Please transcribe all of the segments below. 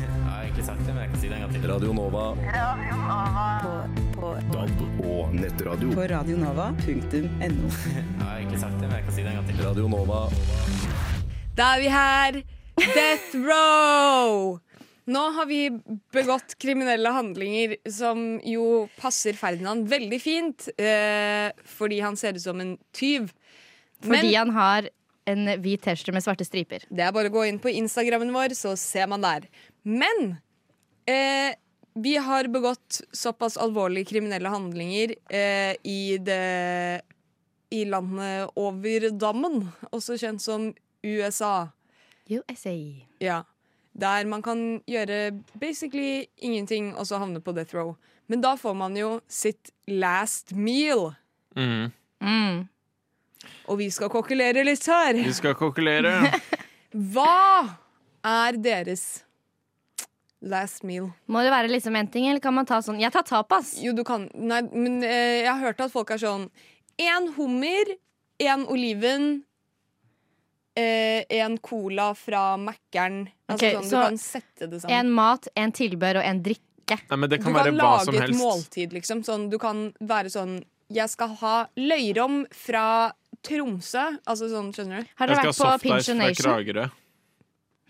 egentlig sagt det, men jeg kan si det en gang til. Radio Nova. På, DAB og nettradio. på radionova.no. Jeg har egentlig sagt det, men jeg kan si det en gang til. Radio Nova. Da er vi her. Death row! Nå har vi begått kriminelle handlinger som jo passer Ferdinand veldig fint, eh, fordi han ser ut som en tyv. Fordi han har en hvit T-skjorte med svarte striper. Det er bare å gå inn på Instagrammen vår, så ser man der. Men eh, vi har begått såpass alvorlige kriminelle handlinger eh, i det I landet over dammen, også kjent som USA. USA. Ja. Der man kan gjøre basically ingenting og så havne på death row. Men da får man jo sitt last meal. Mhm. Mm. Og vi skal kokkelere litt her. Du skal kokkelere. Hva er deres last meal? Må det være liksom en ting, eller kan man ta sånn Jeg tar tapas. Jo, du kan Nei, men eh, jeg har hørt at folk er sånn Én hummer, én oliven, én cola fra Mækkern. Altså Ok, sånn, du så kan sette det sammen. En mat, en tilbør og en drikke. Nei, men det kan, du kan være hva lage som et helst. måltid, liksom. Sånn, du kan være sånn Jeg skal ha løyrom fra Tromsø. Altså sånn, skjønner du? Har Jeg dere skal ha vært på soft Pinch ice fra Nation? Kragerø.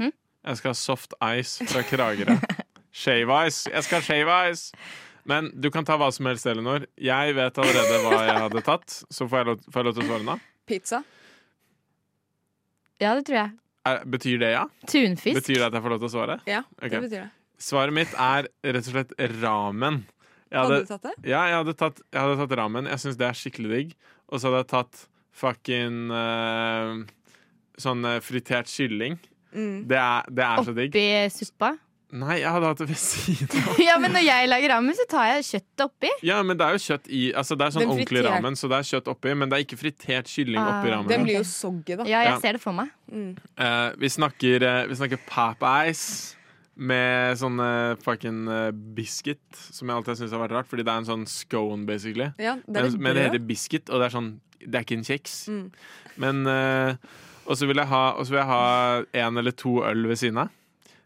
Hm? Jeg skal ha soft ice fra Kragerø. shave ice. Jeg skal ha shave ice! Men du kan ta hva som helst, Elinor. Jeg vet allerede hva jeg hadde tatt. Så får jeg lov, får jeg lov til å svare nå? Pizza. Ja, det tror jeg. Er, betyr det ja? Tunfisk. Betyr det at jeg får lov til å svare? Ja, Ok. det betyr det. Svaret mitt er rett og slett ramen. Jeg Hadde hadde, du tatt det? ja, jeg hadde, tatt, jeg hadde tatt ramen. Jeg syns det er skikkelig digg. Og så hadde jeg tatt fucking eh, sånn eh, fritert kylling. Mm. Det er, det er så digg. Oppi suppa. Nei, jeg hadde hatt det ved siden av. Ja, men når jeg lager ramen, så tar jeg kjøttet oppi. Ja, men det er jo kjøtt i Altså, det er sånn Den ordentlig fritert- ramen, så det er kjøtt oppi, men det er ikke fritert kylling Ah. oppi Den ramen. blir jo soggy, da. Ja, jeg Ja. ser det for meg. Eh, vi snakker, eh, vi snakker Popeyes med sånn eh, fucking eh, biscuit, som jeg alltid syns har vært rart, fordi det er en sånn scone, basically. Ja, det er Men, litt men det brød. heter biscuit, og det er sånn Det er ikke en kjeks. Mm. Men eh, Og så vil jeg ha Og så vil jeg ha en eller to øl ved siden av.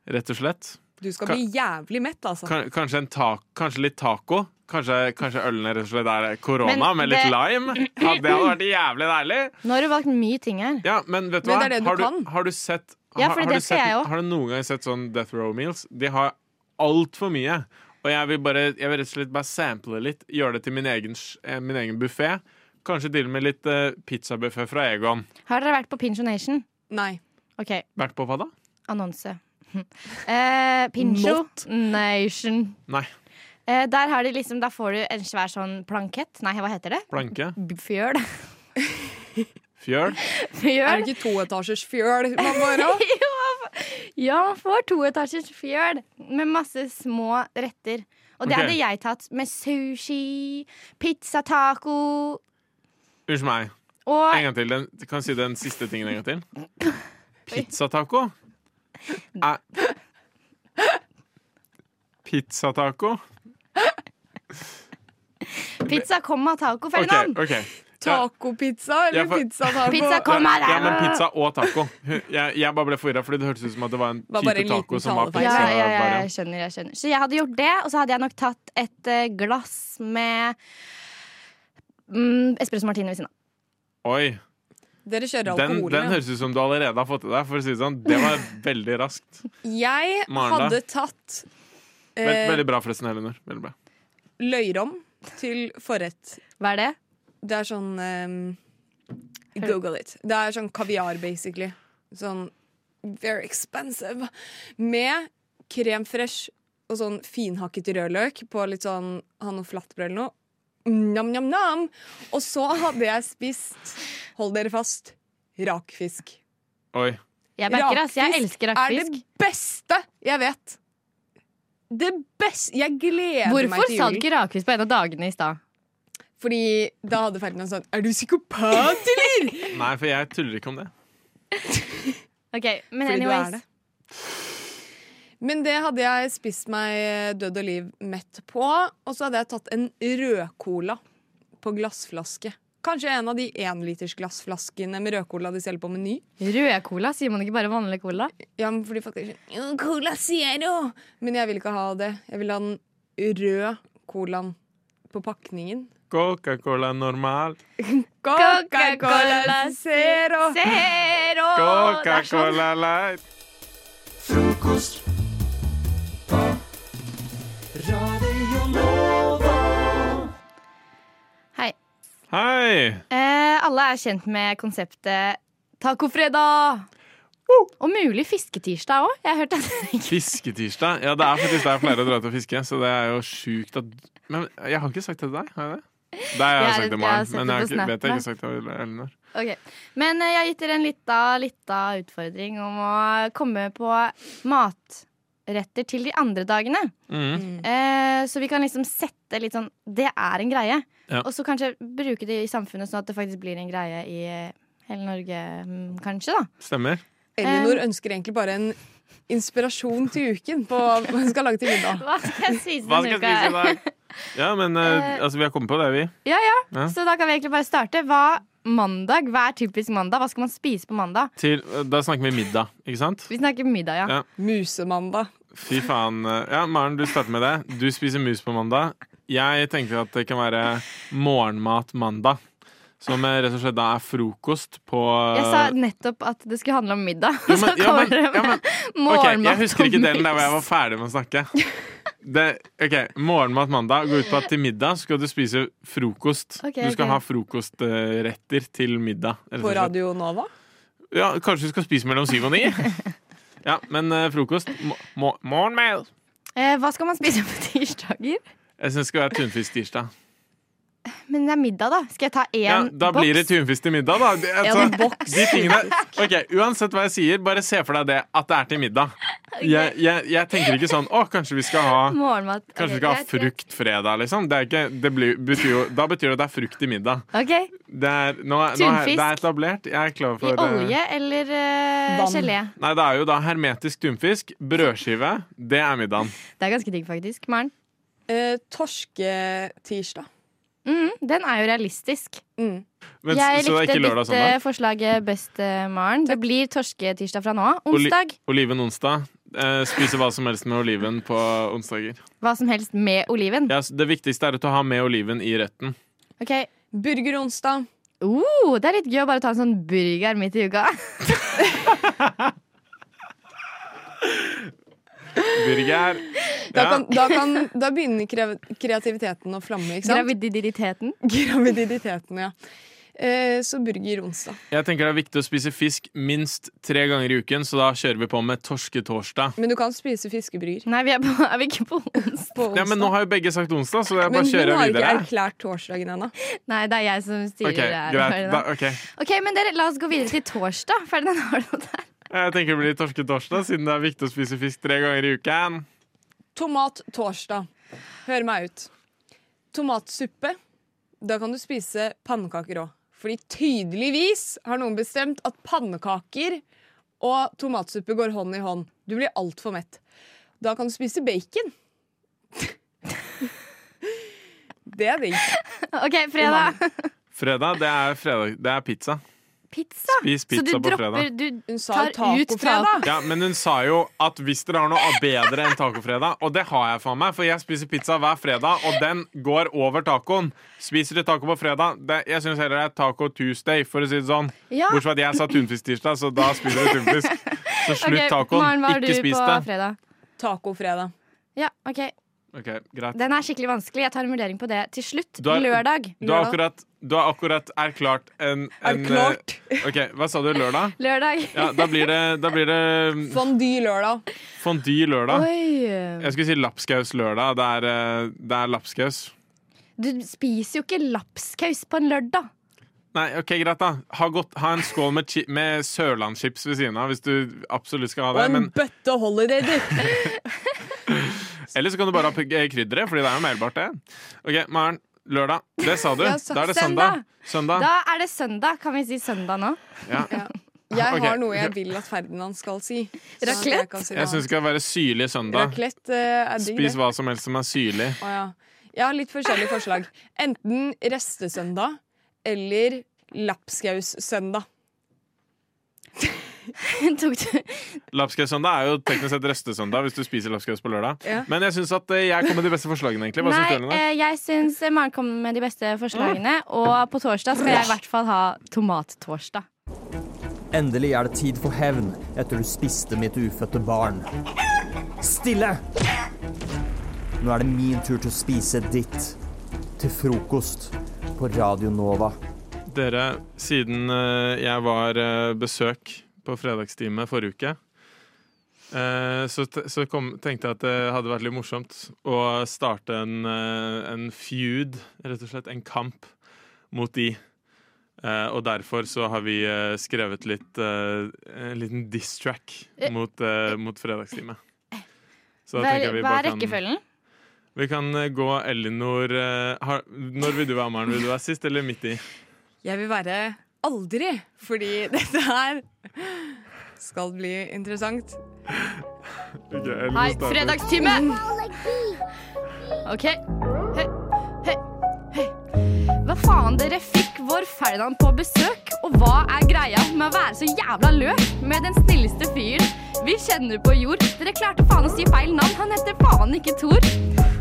Rett og slett. Du skal bli jævlig mett, altså. Kan, kanskje, en ta, kanskje litt taco. Kanskje, kanskje ølene rett og slett er korona Men med litt det- lime. Ja, det hadde vært jævlig deilig. Nå har du valgt mye ting her. Ja, men vet du Men hva? det er det du har, kan. har du sett Ja, har, for har, det du skal sett, jeg også. har du noen gang sett sånn Death Row Meals? De har altfor mye. Og jeg vil, bare, jeg vil rett og slett bare sample litt, gjøre det til min egen, sj- eh, min egen buffé. Kanskje til og med litt uh, pizzabuffé fra Egon. Har dere vært på Pinch Nation? Nei. OK, Vært på hva da? annonse. Eh, Pincho Not. Nation. Nei, Eh, der har de liksom, da får du en svær sånn plankett. Nei, hva heter det? planke. B- Fjøl. Fjøl. Er Fjøl. det ikke toetasjers fjøl man bare har? Ja, man får toetasjers fjøl med masse små retter. Og det Ok. hadde jeg tatt med sushi, pizza taco Unnskyld meg. En og gang til. Den, kan jeg si den siste tingen en gang til? Pizzataco? Eh. Er Pizzataco? pizza comma taco, OK. Ferdinand. ok Tacopizza eller Ja, for- pizza taco? Pizza kom her! Ja, men pizza og taco. Jeg, jeg bare ble forvirra, fordi det hørtes ut som at det var en Var type bare en liten taco som var talefeil. Ja, ja, ja, pizza. jeg skjønner, jeg skjønner. Så jeg hadde gjort det, og så hadde jeg nok tatt et eh, glass med mm, Espresso martini ved siden av. Oi. Dere kjører Den, alkohol. den ja. høres ut som du allerede har fått i deg. For å si Det sånn Det var veldig raskt. Jeg Maren, da? hadde tatt Vel- eh, veldig bra, forresten, Elinor. Veldig bra. løyrom til forrett. Hva er det? Det er sånn eh, Google it. Det er sånn kaviar, basically. Sånn very expensive. Med krem fresh og sånn finhakket rødløk på litt sånn Ha noe flatbrød eller noe. Nam-nam-nam! Og så hadde jeg spist, hold dere fast, rakfisk. Oi. Jeg backer, ass. Jeg elsker er rakfisk. det beste jeg vet. Det beste Jeg gleder meg Hvorfor til sa julen. du ikke rakfisk på en av dagene i stad? Fordi da hadde Ferdinand sånn Er du psykopat, eller? Nei, for jeg tuller ikke om det. Ok, men Fordi du er anyways det. Men det hadde jeg spist meg eh, død og liv mett på. Og så hadde jeg tatt en rødcola på glassflaske. Kanskje en av de enlitersglassflaskene med rødcola de selger på Meny. Rød cola, sier man ikke bare vanlig cola? Ja, men fordi folk er sånn «Å, Cola Zero! Men jeg vil ikke ha det. Jeg vil ha den røde colaen på pakningen. Coca-Cola normal. Coca-Cola Zero! Zero! sånn. Coca-Cola light. Hei. Hei! Eh, alle er kjent med konseptet tacofredag. Og mulig fisketirsdag òg. Jeg har hørt at Fisketirsdag. Ja, det er faktisk der jeg pleier å dra ut og fiske, så det er jo sjukt at Men jeg har ikke sagt det til deg, har jeg det? Det har jeg Jeg- sagt til jeg har Maren, sett men det jeg på har ikke, Snap, vet jeg nei. ikke har sagt det til Elinor. Ok, Men eh, jeg har gitt dere en lita, lita utfordring om å komme på matretter til de andre dagene. Mhm. Eh, så vi kan liksom sette litt sånn Det er en greie. Ja. Og så kanskje bruke det i samfunnet sånn at det faktisk blir en greie i eh, hele Norge, mm, kanskje, da. Stemmer. Elinor ønsker egentlig bare en inspirasjon til uken på hva hun skal lage til middag. Hva skal jeg spise Hva denne skal uka? jeg spise i dag? Ja, men eh, altså, vi har kommet på det, vi. Ja, ja. Ja. Så da kan vi egentlig bare starte. Hva mandag, Hva er typisk mandag? Hva skal man spise på mandag? Til, da snakker vi middag, ikke sant? Vi snakker middag, ja. Ja. Musemandag. Fy faen. eh, Ja, Maren, du starter med det. Du spiser mus på mandag. Jeg tenker at det kan være morgenmat mandag. Som eh, rett og slett da er frokost på Jeg sa nettopp at det skulle handle om middag. Jo, Og så men- ja, kommer men- dere ja, men- med Ok, morgenmat. Jeg husker ikke og delen der hvor jeg mus. var ferdig med å snakke. Det, ok, Morgenmat mandag går ut på at til middag skal du spise frokost. Ok, du skal ok. ha frokostretter til middag. rett og På slett. Radio Nova. Ja, Kanskje du skal spise mellom syv og ni? Ja, men eh, frokost må- må- Morgenmail! Eh, Hva skal man spise på tirsdager? Jeg syns det skal være tunfisk tirsdag. Men det er middag, da. Skal jeg ta én Ja, da boks? blir det tunfisk til middag, da. Det- altså, En boks. de tingene, ok, Uansett hva jeg sier, bare se for deg det at det er til middag. Jeg, jeg, jeg tenker ikke sånn Å, kanskje vi skal ha Morgenmat. Ok, Kanskje vi skal ha greit, greit. frukt fredag, liksom. Det er ikke, det blir, betyr jo, da betyr det at det er frukt i middag. Ok, Det er, nå, er- nå er, Tunfisk. det er etablert. Jeg er klar I for eh, olje eller eh, Vann. gelé? Nei, det er jo da hermetisk tunfisk, brødskive. Det er middagen. Det er ganske digg, faktisk. Maren. Eh, torsketirsdag. Mm, den er jo realistisk. Mm. Men, jeg s- så det er likte ikke lørdag og ditt eh, søndag. forslag best, eh, Maren. Det blir torsketirsdag fra nå av. Oli- Onsdag. Oliven onsdag. Eh, spise hva som helst med oliven på onsdager. Hva som helst med oliven. Ja, så det viktigste er å ta- ha med oliven i retten. Ok, Burgeronsdag. oh, Det er litt gøy å bare ta en sånn burger midt i uka. Burger. Da, Ja. kan, da, kan, da begynner krev- kreativiteten å flamme. ikke sant? Graviditeten. Graviditeten, ja. Eh, så burger onsdag. Jeg tenker det er viktig å spise fisk minst tre ganger i uken, så da kjører vi på med torsketorsdag. Men du kan spise fiskebrygger Nei, vi er, på, er vi ikke på onsdag? på onsdag. Ja, men nå har jo begge sagt onsdag, så jeg Men bare hun kjører har ikke videre. erklært torsdagen ennå. Nei, det er jeg som styrer Ok, her. greit. Da, ok. Ok, men dere, La oss gå videre til torsdag. Ferdinand, har du noe der? Jeg tenker det blir torsketorsdag, siden det er viktig å spise fisk tre ganger i uken. Tomat torsdag. Hør meg ut. Tomatsuppe. Da kan du spise pannekaker òg. Fordi tydeligvis har noen bestemt at pannekaker og tomatsuppe går hånd i hånd. Du blir altfor mett. Da kan du spise bacon. Det er digg. Ok, fredag. Fredag, det er, fredag, det er pizza. Pizza. Spis Så du pizza på dropper fredag. du, Hun sa Tar ut tacofredag. Ja, Men hun sa jo at hvis dere har noe bedre enn tacofredag Og det har jeg faen meg, for jeg spiser pizza hver fredag, og den går over tacoen. Spiser du taco på fredag det, Jeg syns heller det er taco Tuesday, for å si det sånn. Ja. Bortsett fra at jeg sa tunfisk tirsdag, så da spiser du tunfisk. Så Ok, slutt tacoen. Maren, hva har Ikke du spis på det. fredag? Tacofredag. Ja, ok. Ok, greit Den er skikkelig vanskelig. Jeg tar en vurdering på det til slutt. Du har- Lørdag. Du har akkurat, du har akkurat erklært en, en Erklært. eh, Ok, Hva sa du? Lørdag? Lørdag. Ja, da blir det, da blir det mm, Fondy lørdag. fondy lørdag. Oi. Jeg skulle si lapskaus lørdag. Det er, eh, det er lapskaus. Du spiser jo ikke lapskaus på en lørdag. Nei, ok, greit, da. Ha, godt, ha en skål med, chi- med sørlandschips ved siden av hvis du absolutt skal ha Og det. en Men bøtte holiday dip. ellers så kan du bare ha p- eh, krydderet, fordi det er jo melbart, det. Ok, Maren. Lørdag. Det sa du. Jeg sa Da er det søndag. søndag. Søndag. Da er det søndag. Kan vi si søndag nå? Ja. Jeg Ok. har noe jeg vil at Ferdinand skal si. Så jeg Raclette? kan si det. Jeg syns det skal være syrlig søndag. Raclette eh, er digg, Spis det. hva som helst som er syrlig. Å, ja. Jeg har litt forskjellige forslag. Enten restesøndag eller lapskaussøndag. Tok du Lapskaussøndag er jo teknisk sett restesøndag hvis du spiser lapskaus på lørdag. Ja. Men jeg syns at eh, jeg kom med de beste forslagene, egentlig. Hva syns du, Nei, Eline? eh, jeg syns Maren kom med de beste forslagene. Og på torsdag skal jeg i hvert fall ha tomattorsdag. Endelig er det tid for hevn etter du spiste mitt ufødte barn. Stille! Nå er det min tur til å spise ditt. Til frokost på Radio Nova. Dere, siden eh, jeg var eh, besøk på fredagstime forrige uke, eh, så, t så kom, tenkte jeg at det hadde vært litt morsomt å starte en, eh, en feud, rett og slett en kamp, mot de. Eh, og derfor så har vi eh, skrevet litt eh, en liten diss-track mot, eh, mot fredagstime. Så da Hva tenker jeg er, vi hva er bare kan, rekkefølgen? vi kan eh, gå Elinor eh, har, Når vil du være med? Vil du være sist eller midt i? Jeg vil være aldri, fordi dette her skal bli interessant. Hei, fredagstime! OK. Hei, hei, hei. Hva faen, dere fikk vår Ferdinand på besøk. Og hva er greia med å være så jævla løk med den snilleste fyren vi kjenner på jord? Dere klarte faen å si feil navn. Han heter faen ikke Thor.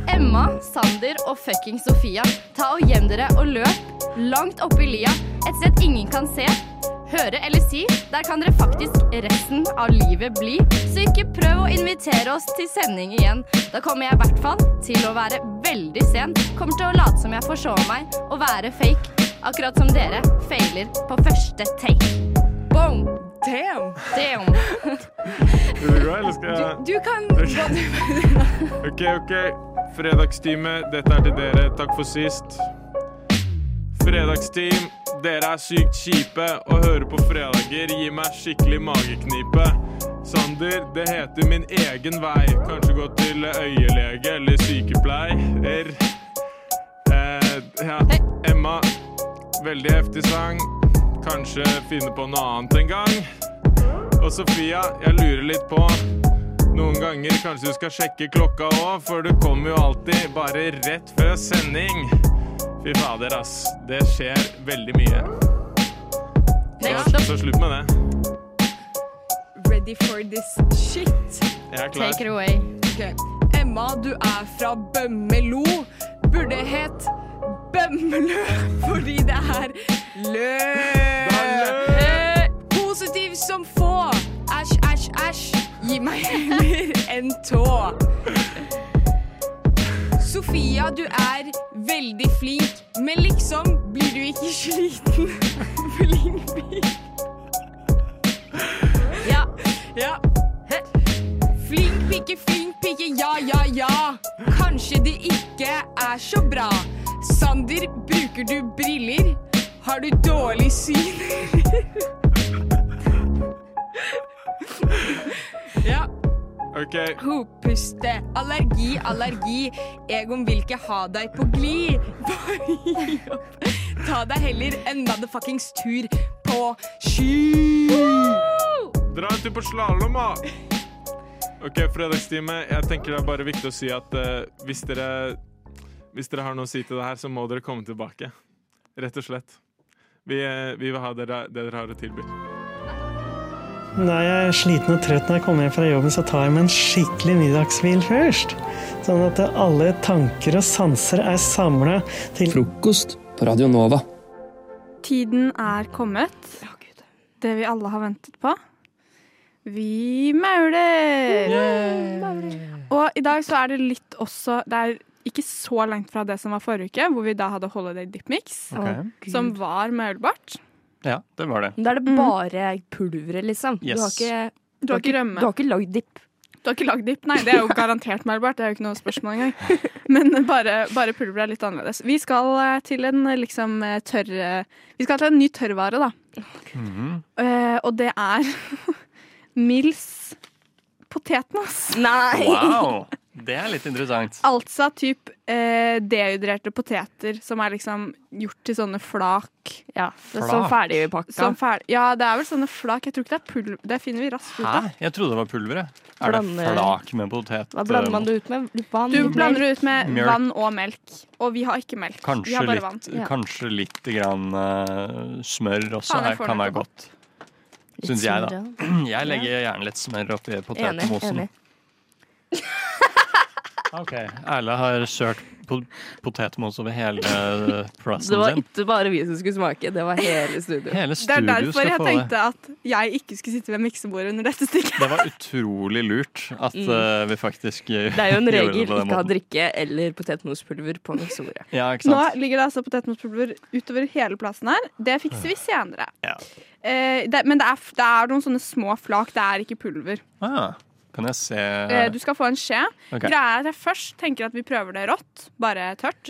Emma, Sander og fucking Sofia. Ta og gjem dere og løp langt oppe i lia. Et sted ingen kan se. Høre eller si. Der kan dere faktisk resten av livet bli. Så ikke prøv å invitere oss til sending igjen. Da kommer jeg i hvert fall til å være veldig sen. Kommer til å late som jeg forsov meg og være fake. Akkurat som dere feiler på første take. Boom! Damn! Damn! Vil du gå, eller skal jeg Du kan gå du- Ok, ok. Fredagstime, dette er til dere. Takk for sist. Fredagsteam, dere er sykt kjipe og hører på fredager. Gi meg skikkelig mageknipe. Sander, det heter min egen vei. Kanskje gå til øyelege eller sykepleier. Eh, ja. Emma, veldig heftig sang. Kanskje finne på noe annet en gang. Og Sofia, jeg lurer litt på noen ganger kanskje du skal sjekke klokka òg, for du kommer jo alltid bare rett før sending. Fy fader, ass. Det skjer veldig mye. Next Så, up, så slutt med det. Ready for this shit. Jeg er take klar. it away. Ok. Emma, du er fra Bømmelo. Burde het Bømmelø fordi det er lø. Det Eh, Positiv som få. Æsj, æsj, æsj. Gi meg heller en tå. Sofia, du er veldig flink, men liksom blir du ikke sliten. Blink, blink. Ja. Ja. Flink pike, flink pike, ja, ja, ja. Kanskje det ikke er så bra. Sander, bruker du briller? Har du dårlig syn? ja. OK. Hopuste, allergi, allergi. Egon vil ikke ha deg på glid. Bare gi opp. Ta deg heller en motherfuckings tur på sky. Dra en tur på slalåm, da. OK, fredagstime. Jeg tenker det er bare viktig å si at eh, hvis dere Hvis dere har noe å si til det her, så må dere komme tilbake. Rett og slett. Vi, eh, vi vil ha dere, det dere har å tilby. Når jeg er sliten og trøtt når jeg kommer hjem fra jobben, så tar jeg meg en skikkelig middagshvil først. Sånn at alle tanker og sanser er samla til Frokost på Radio Nova. Tiden er kommet. Det vi alle har ventet på. Vi mauler! Og i dag så er det litt også Det er ikke så langt fra det som var forrige uke, hvor vi da hadde Holiday Dip Mix, som var maulbart. Ja, det var det. Da er det bare pulveret, liksom. Yes. Du har ikke, Du har ikke rømme. du har ikke lagd dipp. Du har ikke lagd dip? Nei, det er jo garantert maulbart. Det er jo ikke noe spørsmål engang. Men bare, bare pulveret er litt annerledes. Vi skal eh, til en eh, liksom eh, tørr eh, Vi skal til en ny tørrvare, da. Mhm. Eh, og det er Mills potetmos. Nei! Wow! Det er litt interessant. Altså typ eh, dehydrerte poteter som er liksom gjort til sånne flak. Ja, det er sånn Flak? ferdigpakka. Som fer- ja, det er vel sånne flak. Jeg tror ikke det er pulver. Det finner vi raskt ut av. Hæ? Jeg trodde det var pulveret. Er det Blander- flak med potet? Hva blander man eh, det ut med? Vann? Du blander det ut med Mjølk. vann og melk. Og vi har ikke melk. vi Kanskje har bare vann. litt, kanskje litt grann, eh, smør også Faen, jeg her får kan den være etterpå. godt. Syns jeg, da. smør, Jeg legger gjerne litt smør oppi potetmosen. Enig. Ok, Erle har kjørt po potetmos over hele Det plassen var sin. ikke bare vi som skulle smake, det var hele studio. Det Hele er studio derfor skal jeg få det. tenkte at jeg ikke skulle sitte ved miksebordet under dette stykket. Det var utrolig lurt at Mm. eh, vi faktisk eh, Det er jo en gjorde regel det på den ikke ha måten. drikke eller potetmospulver på miksebordet. Ja, ikke Nå sant? ligger det altså potetmospulver utover hele plassen her. Det fikser vi senere. Eh, det, men det er, f- det er noen sånne små flak. Det er ikke pulver. Ah, kan jeg se Eh, du skal få en skje. Ok. Greia er at jeg først tenker at vi prøver det rått, bare tørt.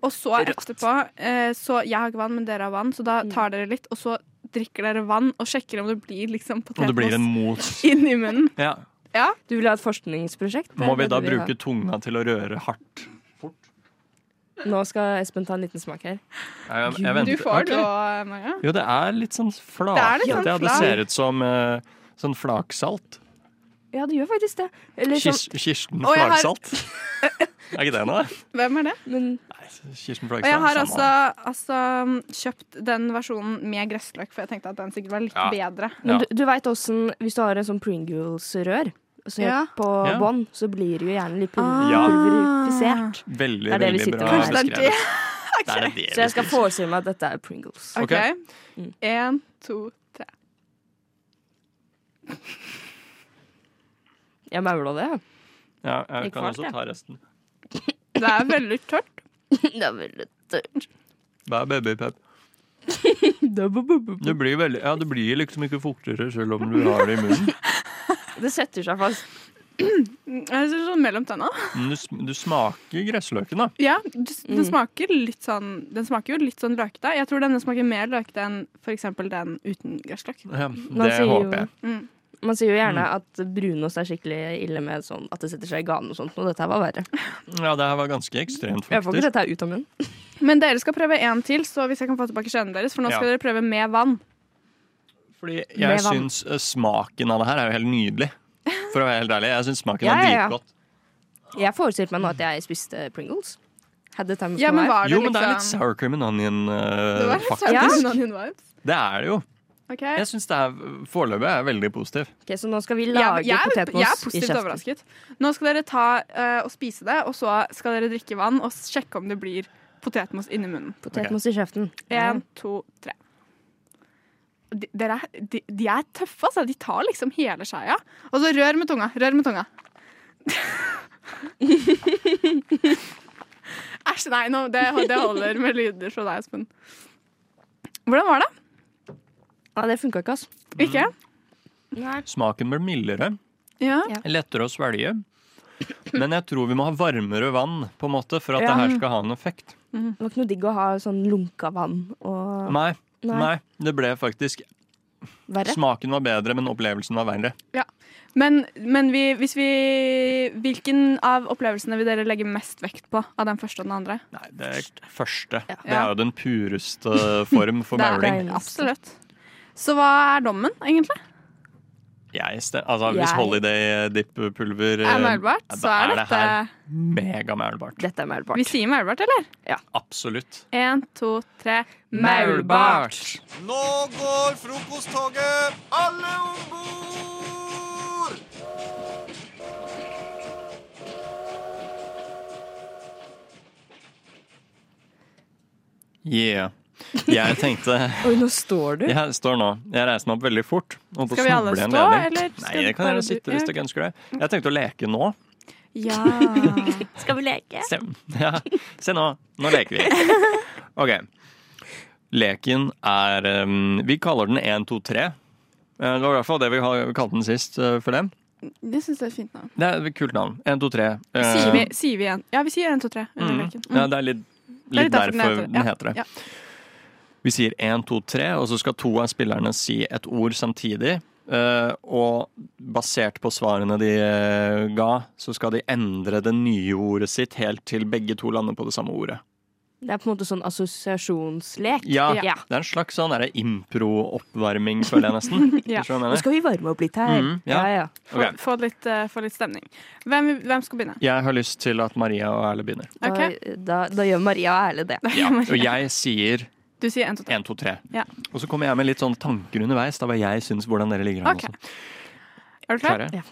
Og så etterpå eh, Så jeg har ikke vann, men dere har vann, så da tar dere litt. Og så drikker dere vann og sjekker om det blir liksom Om det blir en potetmos mot inn i munnen. ja. Ja. Du vil ha et forskningsprosjekt? Må vi Det da er det vil bruke tunga til å røre hardt? ha. Nå skal Espen ta en liten smak her. Jeg, jeg Gud, venter. Du får Ok. det òg, Maja. Jo, det er litt sånn Det er flakete. litt sånn ja, det flak. ser ut som eh, sånn flaksalt. Ja, det gjør faktisk det. sånn- Kis Kirsten sånn- Å, jeg har- Flaksalt. Er ikke det noe? Hvem er det? Kirsten Og jeg Flaksalt. har samme. altså, altså kjøpt den versjonen med gressløk, for jeg tenkte at den sikkert var litt Ja. bedre. Men du, du veit åssen Hvis du har en sånn Pringles-rør så Ja. på Ja. Ah. bånn, så blir det jo gjerne litt pul- Ja. pulverifisert. Veldig, Det er det vi veldig sitter bra med. Kanskje det er det? beskrevet. Det er det det Så jeg skal vi forestille meg at dette er Pringles. OK. Én, to, tre. Jeg maula det. Ja, jeg Gikk kan fort, også ja. ta resten. Det er veldig tørt. det er veldig tørt. Bare babypep. Det blir, veldig, ja, det blir liksom ikke fuktigere selv om du har det i munnen. Det setter seg fast. Jeg synes sånn mellom tenna. Men du, sm- du smaker gressløken, da. Ja, du- den smaker litt sånn Den smaker jo litt sånn løkete. Jeg tror denne smaker mer løkete enn for eksempel den uten gressløk. Ja, Man det sier jo- håper jeg. Mm. Mm. Man sier jo gjerne at brunost er skikkelig ille med sånn at det setter seg i ganen og sånt, og dette her var verre. Ja, det her var ganske ekstremt, Jeg får ikke faktisk. dette her ut av munnen. Men dere skal prøve en til, så hvis jeg kan få tilbake skjeden deres, for nå Ja. skal dere prøve med vann. Fordi Med jeg vann. syns eh, smaken av det her er jo helt nydelig. For å være helt ærlig. Jeg syns smaken Ja, ja, er ja. dritgodt. Jeg forestilte meg nå at jeg spiste Pringles. Had the time of Ja, my men life. var det Jo, men det er litt liksom- sour cream and onion, eh, Det var litt faktisk. sånn onion vibes. Det er det jo. Ok. Jeg syns det er foreløpig er jeg veldig positiv. Ok, så nå skal vi Jeg, lage jeg, er- potetmos jeg er i positivt kjeften. overrasket. Nå skal dere ta eh, og spise det, og så skal dere drikke vann og sjekke om det blir potetmos inni munnen. Potetmos i kjeften. Ja. En, to, tre. De, dere er, de, de er tøffe, altså. De tar liksom hele skeia. Og så rør med tunga. Rør med tunga. Æsj, nei, nå, det, det holder med lyder fra deg, Espen. Hvordan var det? Nei, det funka ikke, altså. Ikke? Smaken blir mildere. Mm. Ja. Lettere å svelge. Men jeg tror vi må ha varmere vann på en måte for at Ja. det her skal ha en effekt. Det var ikke noe digg å ha sånn lunka vann og Nei, Nei. nei. Det ble faktisk verre. Smaken var bedre, men opplevelsen var verre. ja. Men, men vi, hvis vi Hvilken av opplevelsene vil dere legge mest vekt på? Av den første og den andre? Nei, det første. Det Ja. er jo den pureste form for Det er- mauling. Absolutt. Så hva er dommen, egentlig? Jeg ste- altså, hvis Jeg- Holiday Dip-pulver eh, Er maulbart, ja, da så er det dette her megamaulbart. Dette er maulbart. Vi sier maulbart, eller? Absolutt. En, to, tre. Nå går frokosttoget! Alle om bord! Yeah. Jeg tenkte Oi, nå står du. Jeg står nå. Jeg reiser meg opp veldig fort. og på Skal vi alle snuble en stå, ledning. eller skal Nei, det kan bare dere du- sitte hvis Ja. dere ønsker det. Jeg tenkte å leke nå. Ja. Skal vi leke? Se, ja. Se nå. Nå leker vi. OK. Leken er um, Vi kaller den 1, 2, 3. Eh, Det var i hvert fall det vi har- vi kalte den sist eh, for den. Det syns jeg er et fint navn. Det er et kult navn. 1, 2, 3. Eh, Sier vi, sier vi en? Ja, vi sier en, to, tre under mm. leken. Mm. Ja, det er litt, Det er litt derfor Ja, den heter det. Ja. Vi sier 1, 2, 3, og så skal to av spillerne si et ord samtidig. Eh, og basert på svarene de eh, ga, så skal de endre det nye ordet sitt helt til begge to lander på det samme ordet. Det er på en måte sånn assosiasjonslek. Ja, Det er en slags sånn derre impro-oppvarming, føler jeg nesten. Ja. Skjønner du hva jeg mener? Nå skal vi varme opp litt her. Mhm, ja. Ja, ja. Få, Ok. få, litt, eh, få litt stemning. Hvem, hvem skal begynne? Jeg har lyst til at Maria og Erle begynner. Da, da, da gjør Maria og Erle det. Og jeg sier Du sier en, to, tre. 1, 2, 3. Ja. Og så kommer jeg med litt sånn tanker underveis. Da hva jeg syns hvordan dere ligger an. OK. Er du klar? Klare?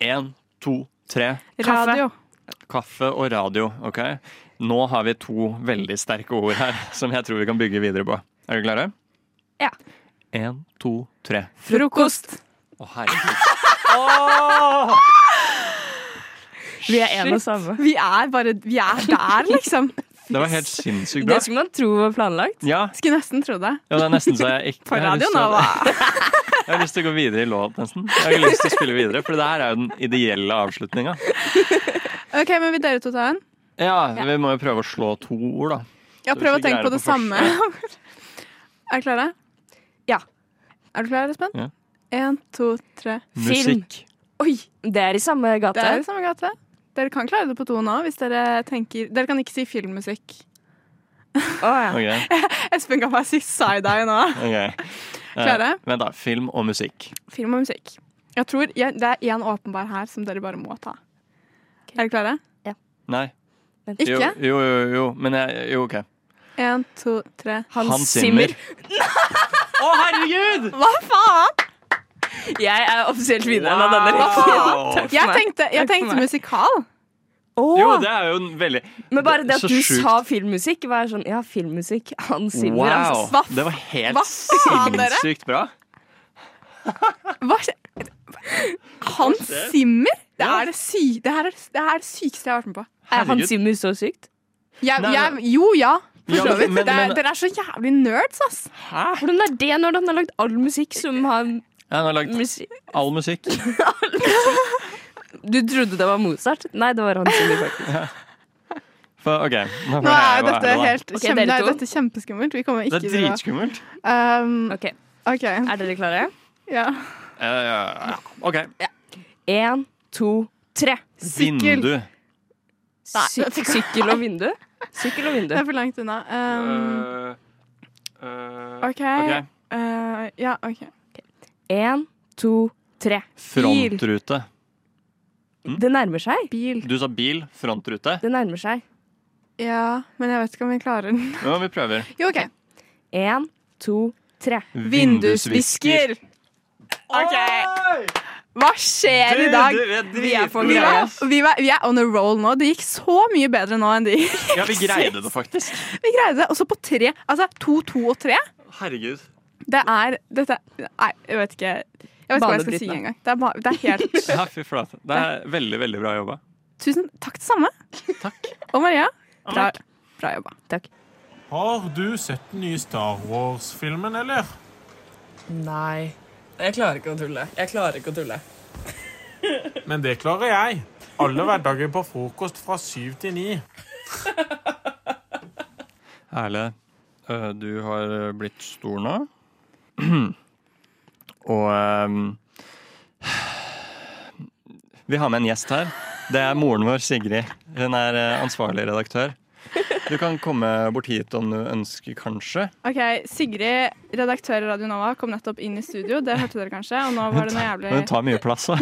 Én, to, tre. Radio. Kaffe og radio. ok? Nå har vi to veldig sterke ord her som jeg tror vi kan bygge videre på. Er dere klare? Ja. Én, to, tre. Frokost. Å, herregud. Vi er en og samme. Vi er bare Vi er der, liksom. Det var helt sinnssykt bra. man tro var planlagt. Ja, Skulle nesten tro det. ja, det er nesten så jeg ikke På jeg har lyst Radio til å- Nova. Jeg har lyst til å gå videre i låt, nesten. Jeg har ikke lyst til å spille videre, for det her er jo den ideelle avslutninga. OK, men vil dere to ta en? Ja, vi må jo prøve å slå to ord, da. Ja, Så prøv å hvis vi tenke greier på det det på samme. er du klare? Ja. Er du klar, Espen? Ja. Én, to, tre. Musikk. Oi! Det er i samme gate. Det er i samme gate. Dere kan klare det på to nå, hvis dere tenker Dere kan ikke si filmmusikk. Ok. Espen kan bare si side-eye nå. Ok. Eh, Klare? Vent, da. Film og musikk. Film og musikk. Jeg tror jeg, Det er én åpenbar her som dere bare må ta. Er dere klare? Nei. Vent. Jo, Ikke? jo, jo. jo. Men jeg, jo, OK. Én, to, tre. Hans Zimmer. Å, herregud! Hva faen? Jeg er offisielt vinneren av denne Wow. rekken. Takk for Jeg meg. tenkte, jeg Takk for tenkte meg. musikal. Jo, det er jo en veldig Men bare det at Så du sjukt. sa filmmusikk, var sånn Ja, filmmusikk. Han Zimmer. Wow. altså, hva Det var helt faen, dere? sinnssykt bra. Hva skje- Hans skjer? Zimmer? Det er det, sy det, her er, det her er det sykeste jeg har vært med på. Er Hans Zimmer så sykt? Jeg, Nei, jeg, jo, ja. For Ja, så men- vidt. men- Det er- men- Dere er så jævlig nerds, ass. Hvordan er det når han har lagd all musikk som har Ja, han har lagd all musikk. Du trodde det var Mozart? Nei, det var Hans Zimmer, faktisk. Ja. For, OK. Nå, Nå er jo dette helt Ok, kjempe, dere nei, to. dette er kjempeskummelt. Vi kommer Det ikke er dritskummelt. Um, Er dere klare? Ja. Ja, ja, ja. OK. Én, to, tre. Vindu. Sy sykkel og vindu? Sykkel og vindu. Det er for langt unna. Um, Eh, OK. ok. Uh, ja, OK. Én, to, tre. Bil. Frontrute. Det nærmer seg. Du sa bil. Frontrute. Det nærmer seg. Ja, men jeg vet ikke om vi klarer den. Ja, vi prøver. Jo, OK. Én, to, tre. Vindusvisker. OK. Hva skjer i dag? Du, du, vi Vi er er, for dritgode. greie. vi, var, vi er on a roll nå. Det gikk så mye bedre nå enn det gikk. Ja, vi greide det faktisk. Vi greide det. Og så på tre. Altså to, to og tre. Herregud. Det er dette, Nei, jeg vet ikke. Jeg vet ikke hva jeg skal si Banebrytende. engang. Det, er ba- det er helt Ja, fy flate. Det er veldig, veldig bra jobba. Tusen takk det samme. Og Maria. Bra, takk. bra jobba. Har du sett den nye Star Wars-filmen, eller? Nei. Jeg klarer ikke å tulle. Jeg klarer ikke å tulle. Men det klarer jeg. Alle hverdager på frokost fra syv til ni. Erle, øh, du har øh, blitt stor nå. Og øhm, Vi har med en gjest her. Det er moren vår, Sigrid. Hun er øh, ansvarlig redaktør. Du kan komme bort hit om du ønsker, kanskje. Ok, Sigrid, redaktør i Radio Nova, kom nettopp inn i studio. Det hørte dere kanskje. Og nå var det noe Men hun jævlig tar mye plass, da.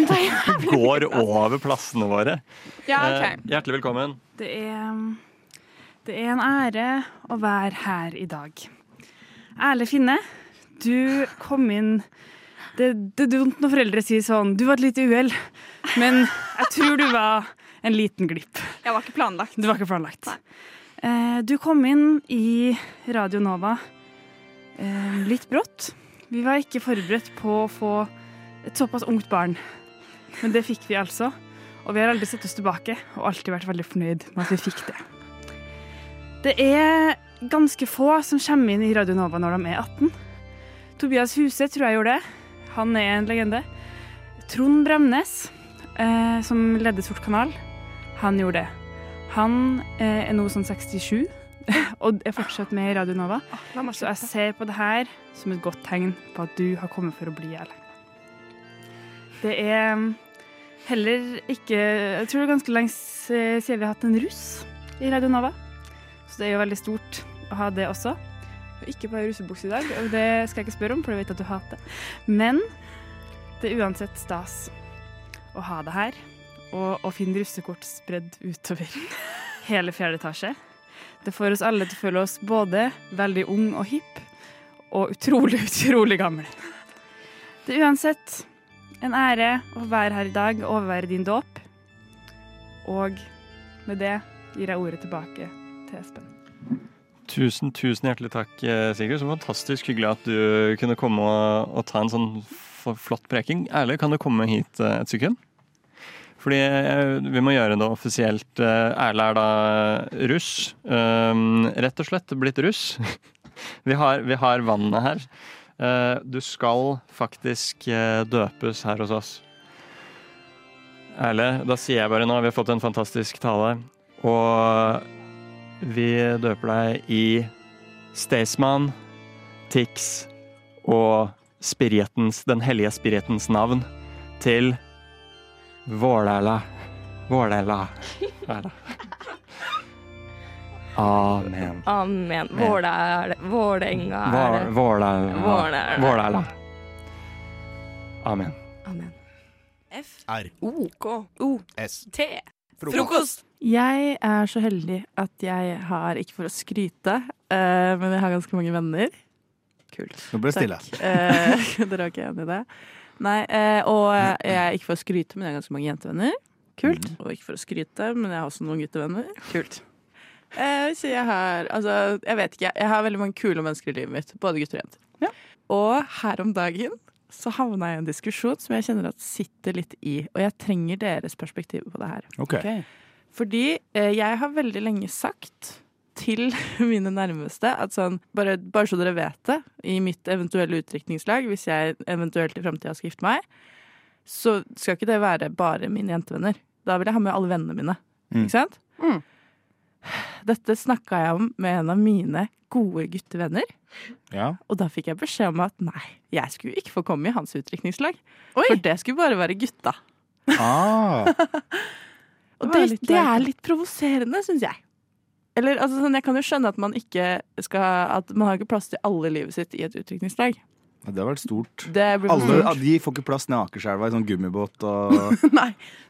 Hun går over plassene våre. Ja, Eh, ok. Hjertelig velkommen. Det er, det er en ære å være her i dag. Erle Finne, du kom inn det, det er dumt når foreldre sier sånn 'Du var et lite uhell', men jeg tror du var en liten glipp. Jeg var ikke planlagt. Det var ikke planlagt. Eh, Du kom inn i Radio Nova eh, litt brått. Vi var ikke forberedt på å få et såpass ungt barn, men det fikk vi altså. Og vi har aldri sett oss tilbake, og alltid vært veldig fornøyd med at vi fikk det. Det er ganske få som kommer inn i Radio Nova når de er 18. Tobias Huse tror jeg gjorde det. Han er en legende. Trond Bremnes, eh, som ledde Sort kanal, han gjorde det. Han eh, er nå sånn 67 og er fortsatt med i Radio Nova. Ah, la meg Så jeg ser på det her som et godt tegn på at du har kommet for å bli, Erle. Det er mm, heller ikke Jeg tror det er ganske lenge s- siden vi har hatt en russ i Radio Nova. Så det er jo veldig stort å ha det også. Og Ikke på ei russebukse i dag, og det skal jeg ikke spørre om, for jeg vet at du hater. Men det er uansett stas å ha det her, og å finne russekort spredd utover hele fjerde etasje. Det får oss alle til å føle oss både veldig ung og hipp, og utrolig, utrolig gamle. Det er uansett en ære å være her i dag og overvære din dåp. Og med det gir jeg ordet tilbake til Espen. Tusen, tusen hjertelig takk, eh, Sigurd. Så fantastisk hyggelig at du kunne komme og, og ta en sånn f- flott preking. Ærlig, kan du komme hit eh, et sekund? Fordi eh, vi må gjøre det offisielt. Eh, Erle er da eh, russ. Um, rett og slett blitt russ. Vi har, vi har vannet her. Eh, Du skal faktisk eh, døpes her hos oss. Erle, da sier jeg bare nå, vi har fått en fantastisk tale, og vi døper deg i Staysman, Tix og Spiritens, den hellige spiritens navn til Vålerla. Vålerla. Erla. Amen. Amen. Våle- Vålerenga Vår- er Vålerla. Vålerla. Vålerla. Amen. Amen. F R. O K O S T. Frokost. Jeg er så heldig at jeg har, ikke for å skryte, eh, men jeg har ganske mange venner. Kult. Nå ble det stille. Takk. Eh, dere var ikke enig i det? Nei, eh, og jeg er ikke for å skryte, men jeg har ganske mange jentevenner. Kult. Og ikke for å skryte, men jeg har også noen guttevenner. Kult. Eh, så jeg har, altså, jeg vet ikke, jeg har veldig mange kule mennesker i livet mitt, både gutter og jenter. Og her om dagen så havna jeg i en diskusjon som jeg kjenner at sitter litt i, og jeg trenger deres perspektiv på det her. Ok. Ok. Fordi eh, jeg har veldig lenge sagt til mine nærmeste at sånn, bare, bare så dere vet det, i mitt eventuelle utdrikningslag, hvis jeg eventuelt i framtida skal gifte meg, så skal ikke det være bare mine jentevenner. Da vil jeg ha med alle vennene mine. Mm. Ikke sant? Dette snakka jeg om med en av mine gode guttevenner. Ja. Og da fikk jeg beskjed om at nei, jeg skulle ikke få komme i hans utdrikningslag. For det skulle bare være gutta. Ah. Og Det var det, litt det leit. er litt provoserende, syns jeg. Eller, altså, sånn, jeg kan jo skjønne at man ikke skal At man har ikke plass til alle i livet sitt i et utdrikningslag. Ja, Det har vært stort. Det blir for Alle, stort. de får ikke plass ned i Akerselva i sånn gummibåt og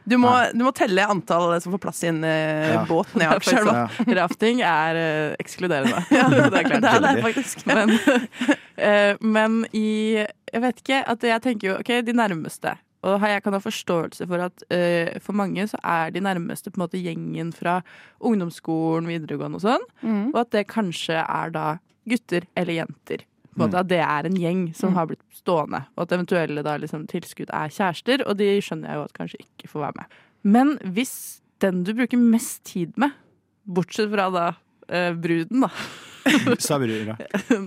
Du må, du må telle antall som får plass i en eh, Ja. båt ned i Akerselva. Rafting er eh, ekskluderende. Ja, det er klart. Det er det Veldig. faktisk. Men, eh, men i Jeg vet ikke. At jeg tenker jo OK, de nærmeste. Og har- jeg kan ha forståelse for at eh, for mange så er de nærmeste på en måte gjengen fra ungdomsskolen, videregående og sånn. Og at det kanskje er da gutter eller jenter. På en måte, At det er en gjeng som har blitt stående. Og at eventuelle da liksom tilskudd er kjærester, og de skjønner jeg jo at kanskje ikke får være med. Men hvis den du bruker mest tid med, bortsett fra da eh, bruden, da Sabrura.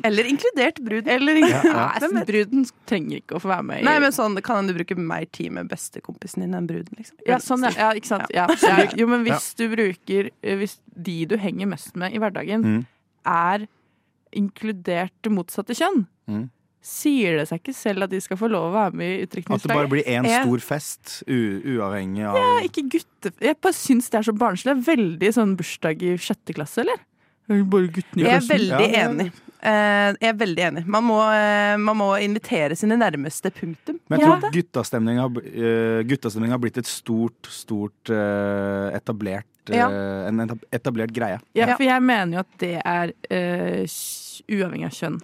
Eller inkludert brud. Eller Ja, ja. Nei, Hvem vet? bruden trenger ikke å få være med. i- Nei, men sånn, kan hende du bruker mer tid med bestekompisen din enn bruden, liksom. ja, sånn, ja. ja, ikke sant. Ja. Ja. Ja. Jo, men hvis du bruker eh, Hvis de du henger mest med i hverdagen, Mm. er inkludert det motsatte kjønn, Mm. sier det seg ikke selv at de skal få lov å være med i At det utdrikningslaget? bare blir én Eh, stor fest, u uavhengig av Ja, ikke gutte... Jeg bare syns det er så barnslig. Veldig sånn bursdag i sjette klasse, eller? Bare guttene Jeg er veldig enig. Eh, jeg er veldig enig. Man må, eh, man må invitere sine nærmeste, punktum. Men Ja. jeg tror guttastemning har, bl- eh, guttastemning har blitt et stort, stort eh, etablert eh, Ja. En etab- etablert greie. Ja, for jeg mener jo at det er eh, s- uavhengig av kjønn.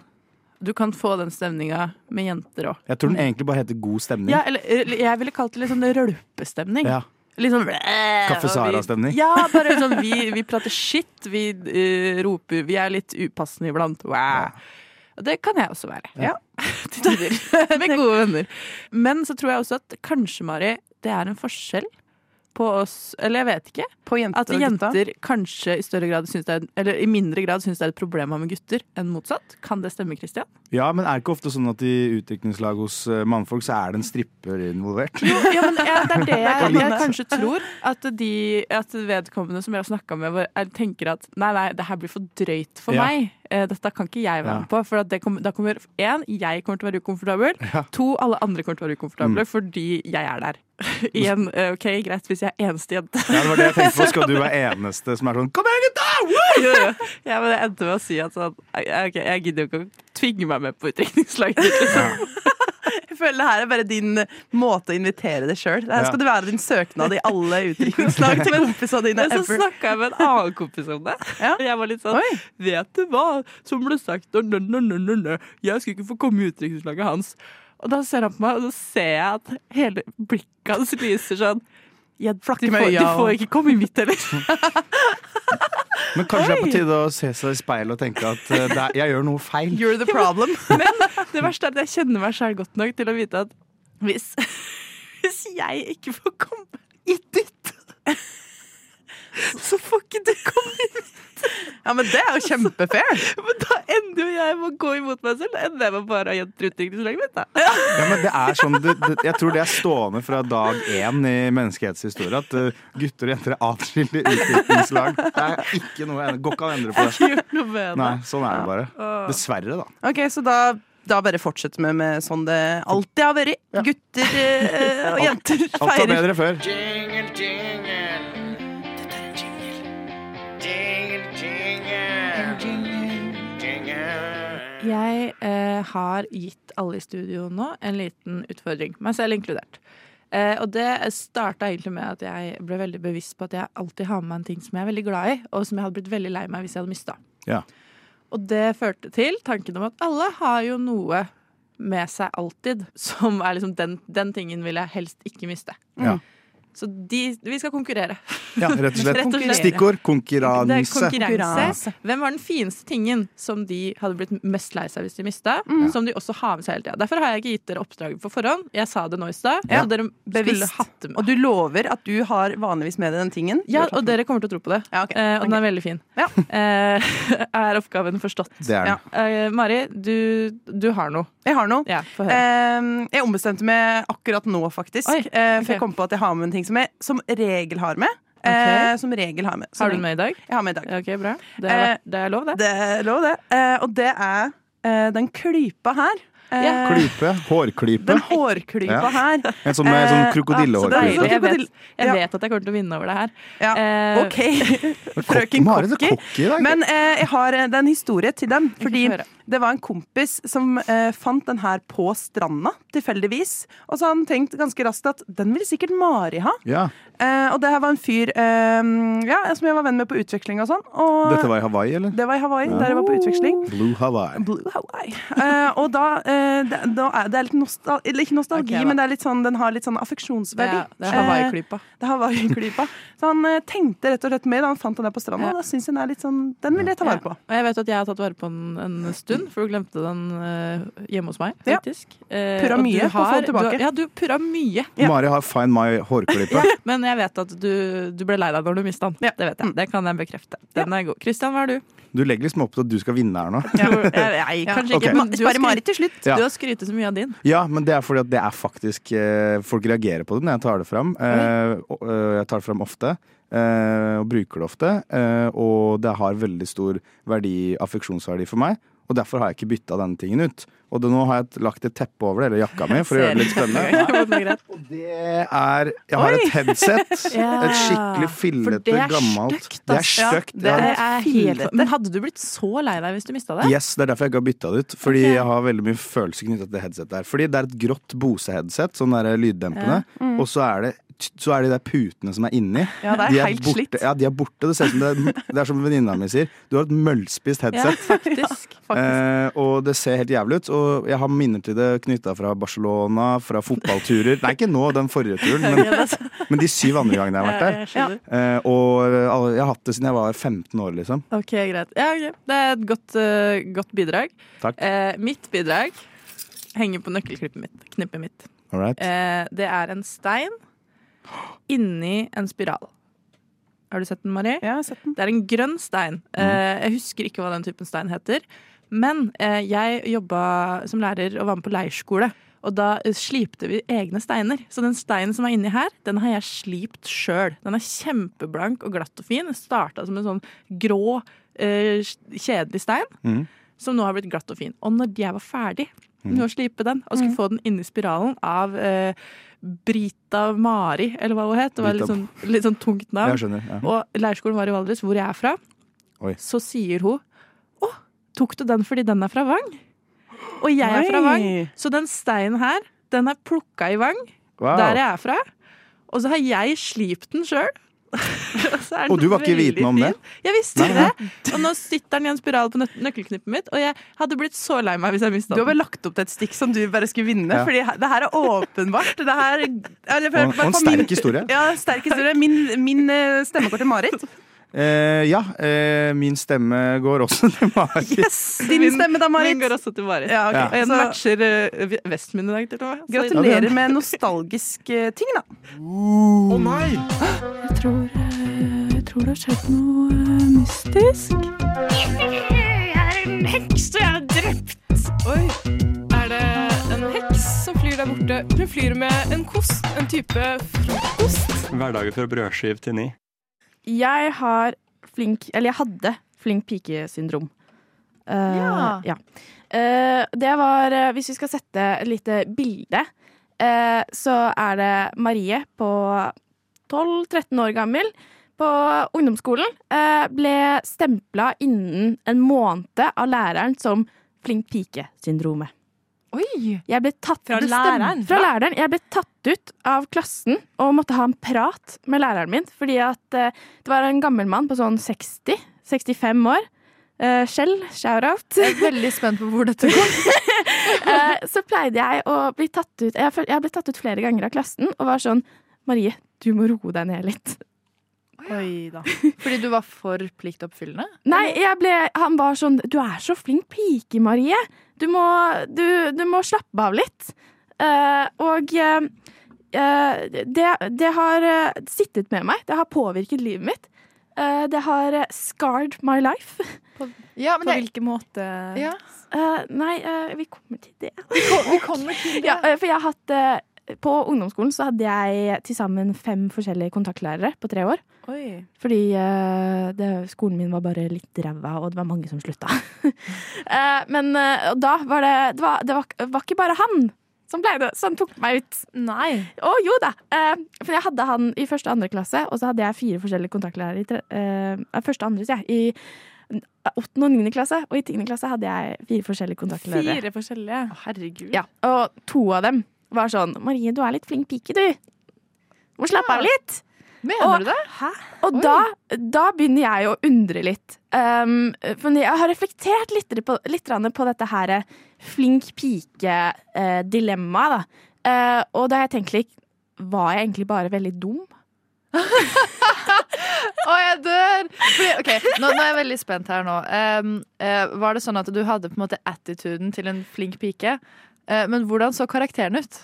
Du kan få den stemninga med jenter òg. Jeg tror den egentlig bare heter God stemning. Ja, eller, eller jeg ville kalt det litt sånn rølpestemning. Ja. Litt sånn blæh, Kaffe og vi- Sahara-stemning. Ja, bare sånn vi, vi prater shit, vi eh, roper Vi er litt upassende iblant. Wow. Og det kan jeg også være. Ja. Til tider. Med gode venner. Men så tror jeg også at kanskje, Mari, det er en forskjell på oss Eller jeg vet ikke. at og gutta. jenter kanskje i større grad syns det er Eller i mindre grad syns det er et problem å ha med gutter enn motsatt. Kan det stemme, Christian? Ja, men er det ikke ofte sånn at i utdrikningslag hos eh, mannfolk så er det en stripper involvert? Ja, men jeg, det er det jeg, Og litt. jeg kanskje tror. At, de, at vedkommende som jeg har snakka med, var- er- tenker at nei, nei, det her blir for drøyt for Ja. meg. eh, dette kan ikke jeg være Ja. med på. For at det kom, da kommer én, jeg kommer til å være ukomfortabel. To, alle andre kommer til å være Mm. ukomfortable fordi jeg er der. Igjen, eh, OK, greit hvis jeg er eneste jente. Ja, det var det jeg tenkte på. Skal du være eneste som er sånn Kom igjen, gutta! Woo! Ja, ja. ja, men jeg endte med å si at sånn «Nei, OK, jeg gidder jo ikke å tvinge meg med på utdrikningslaget ditt, liksom. Jeg føler det her er bare din eh, måte å invitere deg sjøl. Her Ja. skal det være din søknad i alle utdrikningslag til kompisene dine. Men så snakka jeg med en annen kompis om det. Jeg var litt sånn Vet du hva som ble sagt? Og nø, nø, nø, nø, nø. Jeg skulle ikke få komme i utdrikningslaget hans. Og da ser han på meg, og så ser jeg at hele blikket hans lyser sånn. Jeg, du, får, med du øya og- får ikke komme i mitt heller. Men kanskje det er på tide å se seg i speilet og tenke at eh, det er, jeg gjør noe feil. You're the problem. Men det verste er at jeg kjenner meg sjøl godt nok til å vite at hvis, hvis jeg ikke får komme i ditt, så får ikke du komme i mitt. Ja, men det er jo kjempefair. Men da ender jo jeg med å gå imot meg selv. Da ender jeg med bare å gjøre truttingslaget mitt, da. Ja, men det er sånn, det, det, jeg tror det er stående fra dag én i menneskehetshistorie at eh, gutter og jenter er atskilt i utviklingslag. Det er ikke noe, går ikke an å endre på det. Nei, sånn er det bare. Dessverre, da. Ok, så da, da bare fortsetter vi med sånn det alltid har vært. Gutter eh, og jenter Alt var bedre før. Jingle, jingle. Du tar en jingle. Jingle, jingle. Jingle. Jeg eh, har gitt alle i studio nå en liten utfordring, meg selv inkludert. Eh, og det starta egentlig med at jeg ble veldig bevisst på at jeg alltid har med meg en ting som jeg er veldig glad i, og som jeg hadde blitt veldig lei meg hvis jeg hadde mista. Ja. Og det førte til tanken om at alle har jo noe med seg alltid, som er liksom den, den tingen vil jeg helst ikke miste. Ja. Så de, vi skal konkurrere. Ja, rett og slett. Rett og slett. Det Stikkord er konkurranse. konkurranse. Hvem var den fineste tingen som de hadde blitt mest lei seg hvis de mista? Mm. Som de også har med seg hele tida. Derfor har jeg ikke gitt dere oppdraget på forhånd. Jeg sa det nå i stad. Ja. så dere skulle Bevisst. hatt det med. Og du lover at du har vanligvis med deg den tingen? Ja, og dere kommer til å tro på det. Eh, og den er veldig fin. Eh, er oppgaven forstått? Det er den. Ja. Eh, Mari, du, du har noe. Jeg har noe. Ja, få høre. Eh, jeg ombestemte meg akkurat nå, faktisk. Oi, Eh, ok. For jeg kom på at jeg har med en ting som jeg som regel har med. Eh, som regel har med. Har du den med i dag? Jeg har med i dag. Ok, bra. Det er, Eh, det er lov, det. Det er lov, det. Eh, og det er eh, den klypa her. Eh, Klype. Hårklype. Den hårklypa Ja. her. En sånn med sånn Eh, så krokodillehårklype. det er- Jeg vet, jeg Ja. vet at jeg kommer til å vinne over det her. Ja, Eh, OK. Frøken Mari, du er Cocky. cocky i dag. Men eh, jeg har eh, det er en historie til den. Fordi høre. det var en kompis som eh, fant den her på stranda, tilfeldigvis. Og så har han tenkt ganske raskt at den vil sikkert Mari ha. Ja. Eh, og det her var en fyr eh, ja, som jeg var venn med på utveksling og sånn. Og Dette var i Hawaii, eller? det var i Hawaii, Ja. der jeg var på utveksling. Blue Hawaii. Blue Hawaii. Eh, og da, eh, det, da er det er litt nostal eller ikke nostalgi, Ok, da. men det er litt sånn, den har litt sånn affeksjonsverdi. Ja, det er Hawaii-klypa. Eh, det er Hawaii-klypa. Så han eh, tenkte rett og slett med da han fant den der på stranda. Ja. og Da syns jeg den er litt sånn Den vil jeg ta vare på. Og jeg vet at jeg har tatt vare på den en stund, for du glemte den eh, hjemme hos meg, Ja. faktisk. Eh, Purra og du mye på å få den du tilbake. ja, du purra mye. Mari har Find My hårklype. Men jeg vet at du, du ble lei deg når du mista den. Det vet jeg. Det kan jeg bekrefte. Den er god. Kristian, hva er du? Du legger liksom opp til at du skal vinne her nå. Nei, kanskje Ok. ikke. men du har Bare Mari skrytt- til slutt. Ja. Du har skrytet så mye av din. Ja, men det er fordi at det er faktisk eh, Folk reagerer på det når jeg tar det fram. Eh, og, eh, jeg tar det fram ofte. eh, og bruker det ofte. eh, og det har veldig stor verdi, affeksjonsverdi for meg. Og derfor har jeg ikke bytta denne tingen ut. Og det, nå har jeg et- lagt et teppe over det, eller jakka mi, for å gjøre det litt spennende. Og det er Jeg har et headset. Ja. Et For skikkelig det fillete, er gammelt. Det er altså. stygt. Ja, det ja. er helt... Men hadde du blitt så lei deg hvis du mista det? Yes, Det er derfor jeg ikke har bytta det ut. Fordi jeg har veldig mye følelser knytta til det headsetet. her Fordi det er et grått Bose-headset, sånn der lyddempende. Ja. Mm. Og så er, det, så er det de der putene som er inni. Ja, det er de er helt borte. slitt. Ja, de er borte. Det ser ut som det er, det er som venninna mi sier. Du har et møllspist headset. faktisk. Eh, og det ser helt jævlig ut. Og jeg har minner til det knytta fra Barcelona, fra fotballturer. Nei, ikke nå, den forrige turen, men, men de syv andre gangene jeg har vært der. Ja, jeg Eh, og alle- jeg har hatt det siden jeg var 15 år, liksom. Ok, greit. Ja, ok. Det er et godt, eh, godt bidrag. Takk. Eh, mitt bidrag henger på nøkkelknippet mitt. Knippet mitt. All right. Eh, det er en stein inni en spiral. Har du sett den, Mari? Ja, jeg har sett den. Det er en grønn stein. Eh, jeg husker ikke hva den typen stein heter. Men eh, jeg jobba som lærer og var med på leirskole. Og da eh, slipte vi egne steiner. Så den steinen som er inni her, den har jeg slipt sjøl. Den er kjempeblank og glatt og fin. Starta som en sånn grå, eh, kjedelig stein, Mm. som nå har blitt glatt og fin. Og når jeg var ferdig Mm. med å slipe den, og skulle få den inni spiralen av eh, Brita Mari, eller hva hun het. Det var Brita- litt sånn, litt sånn tungt navn. Jeg skjønner, ja. Og leirskolen var i Valdres, hvor jeg er fra. Oi. Så sier hun Å, tok du den fordi den er fra Vang? Og jeg er fra Oi. Vang, så den steinen her, den er plukka i Vang, Wow. der jeg er fra. Og så har jeg slipt den sjøl. Og du var ikke vitende om det? Jeg visste Nei, nei. det. Og nå sitter den i en spiral på nøk nøkkelknippet mitt, og jeg hadde blitt så lei meg hvis jeg mista Du har den. bare lagt opp til et stikk som du bare skulle vinne, Ja. fordi he- det her er åpenbart. Det her, eller, Og- og en for min- sterk historie. Ja, en sterk historie. Min, min eh, stemmekort er Marit. Eh, ja, eh, min stemme går også til Mari. Din stemme da, Marit. Min går også til Marit. Ja, ok. Ja. Og jeg Så- matcher eh, vesten min i dag. Til og med. Så- Gratulerer med nostalgisk eh, ting, da. Å nei! Jeg tror, eh, jeg tror det har skjedd noe eh, mystisk. Jeg er en heks, og jeg er drept. Oi. Er det en heks som flyr der borte? Hun flyr med en kost, en type frokost. Hverdager fra brødskive til ni. Jeg har flink Eller jeg hadde flink pike-syndrom. Eh, Ja. Eh, det var eh, Hvis vi skal sette et lite bilde, eh, så er det Marie på 12-13 år gammel på ungdomsskolen. eh, ble stempla innen en måned av læreren som flink pike-syndromet. Oi! Jeg ble tatt Fra det læreren? stemmer. Fra læreren. Jeg ble tatt ut av klassen og måtte ha en prat med læreren min. Fordi at eh, det var en gammel mann på sånn 60-65 år. Eh, Skjell, shout-out. Jeg er veldig spent på hvor dette går. Eh, så pleide jeg å bli tatt ut jeg, føl- jeg ble tatt ut flere ganger av klassen og var sånn Marie, du må roe deg ned litt. Oi da. Fordi du var for pliktoppfyllende? Nei, jeg ble, han var sånn Du er så flink pike, Marie. Du må, du, du må slappe av litt. Eh, og eh, eh, det, det har eh, sittet med meg. Det har påvirket livet mitt. Eh, det har eh, scarred my life. På, men det- hvilken måte? Ja. Eh, nei, eh, vi kommer til det. Vi kommer til det. Ja, eh, for jeg har hatt eh, På ungdomsskolen så hadde jeg til sammen fem forskjellige kontaktlærere på tre år. Oi. Fordi eh, det, skolen min var bare litt ræva, og det var mange som slutta. Eh, men eh, og da var det det var, det var, var ikke bare han som pleide, som tok meg ut. Nei. Å jo da! Eh, for jeg hadde han i første og andre klasse, og så hadde jeg fire forskjellige kontaktlærere i tre, eh, eh, første og andre, sier jeg. I åttende og niende klasse, og i tiende klasse hadde jeg fire forskjellige kontaktlærere. Fire forskjellige. Herregud. Ja, og to av dem var sånn Marie, du er litt flink pike, du. Må slappe av litt. Mener og, du det? Og da, da begynner jeg å undre litt. Um, for jeg har reflektert litt på, litt grann på dette her eh, flink pike-dilemmaet, da. Eh, og da har jeg tenkt litt Var jeg egentlig bare veldig dum? Å, jeg dør! Fordi, ok, nå, nå er jeg veldig spent her nå. Ehm, eh, var det sånn at du hadde på en måte attituden til en flink pike, eh, men hvordan så karakteren ut?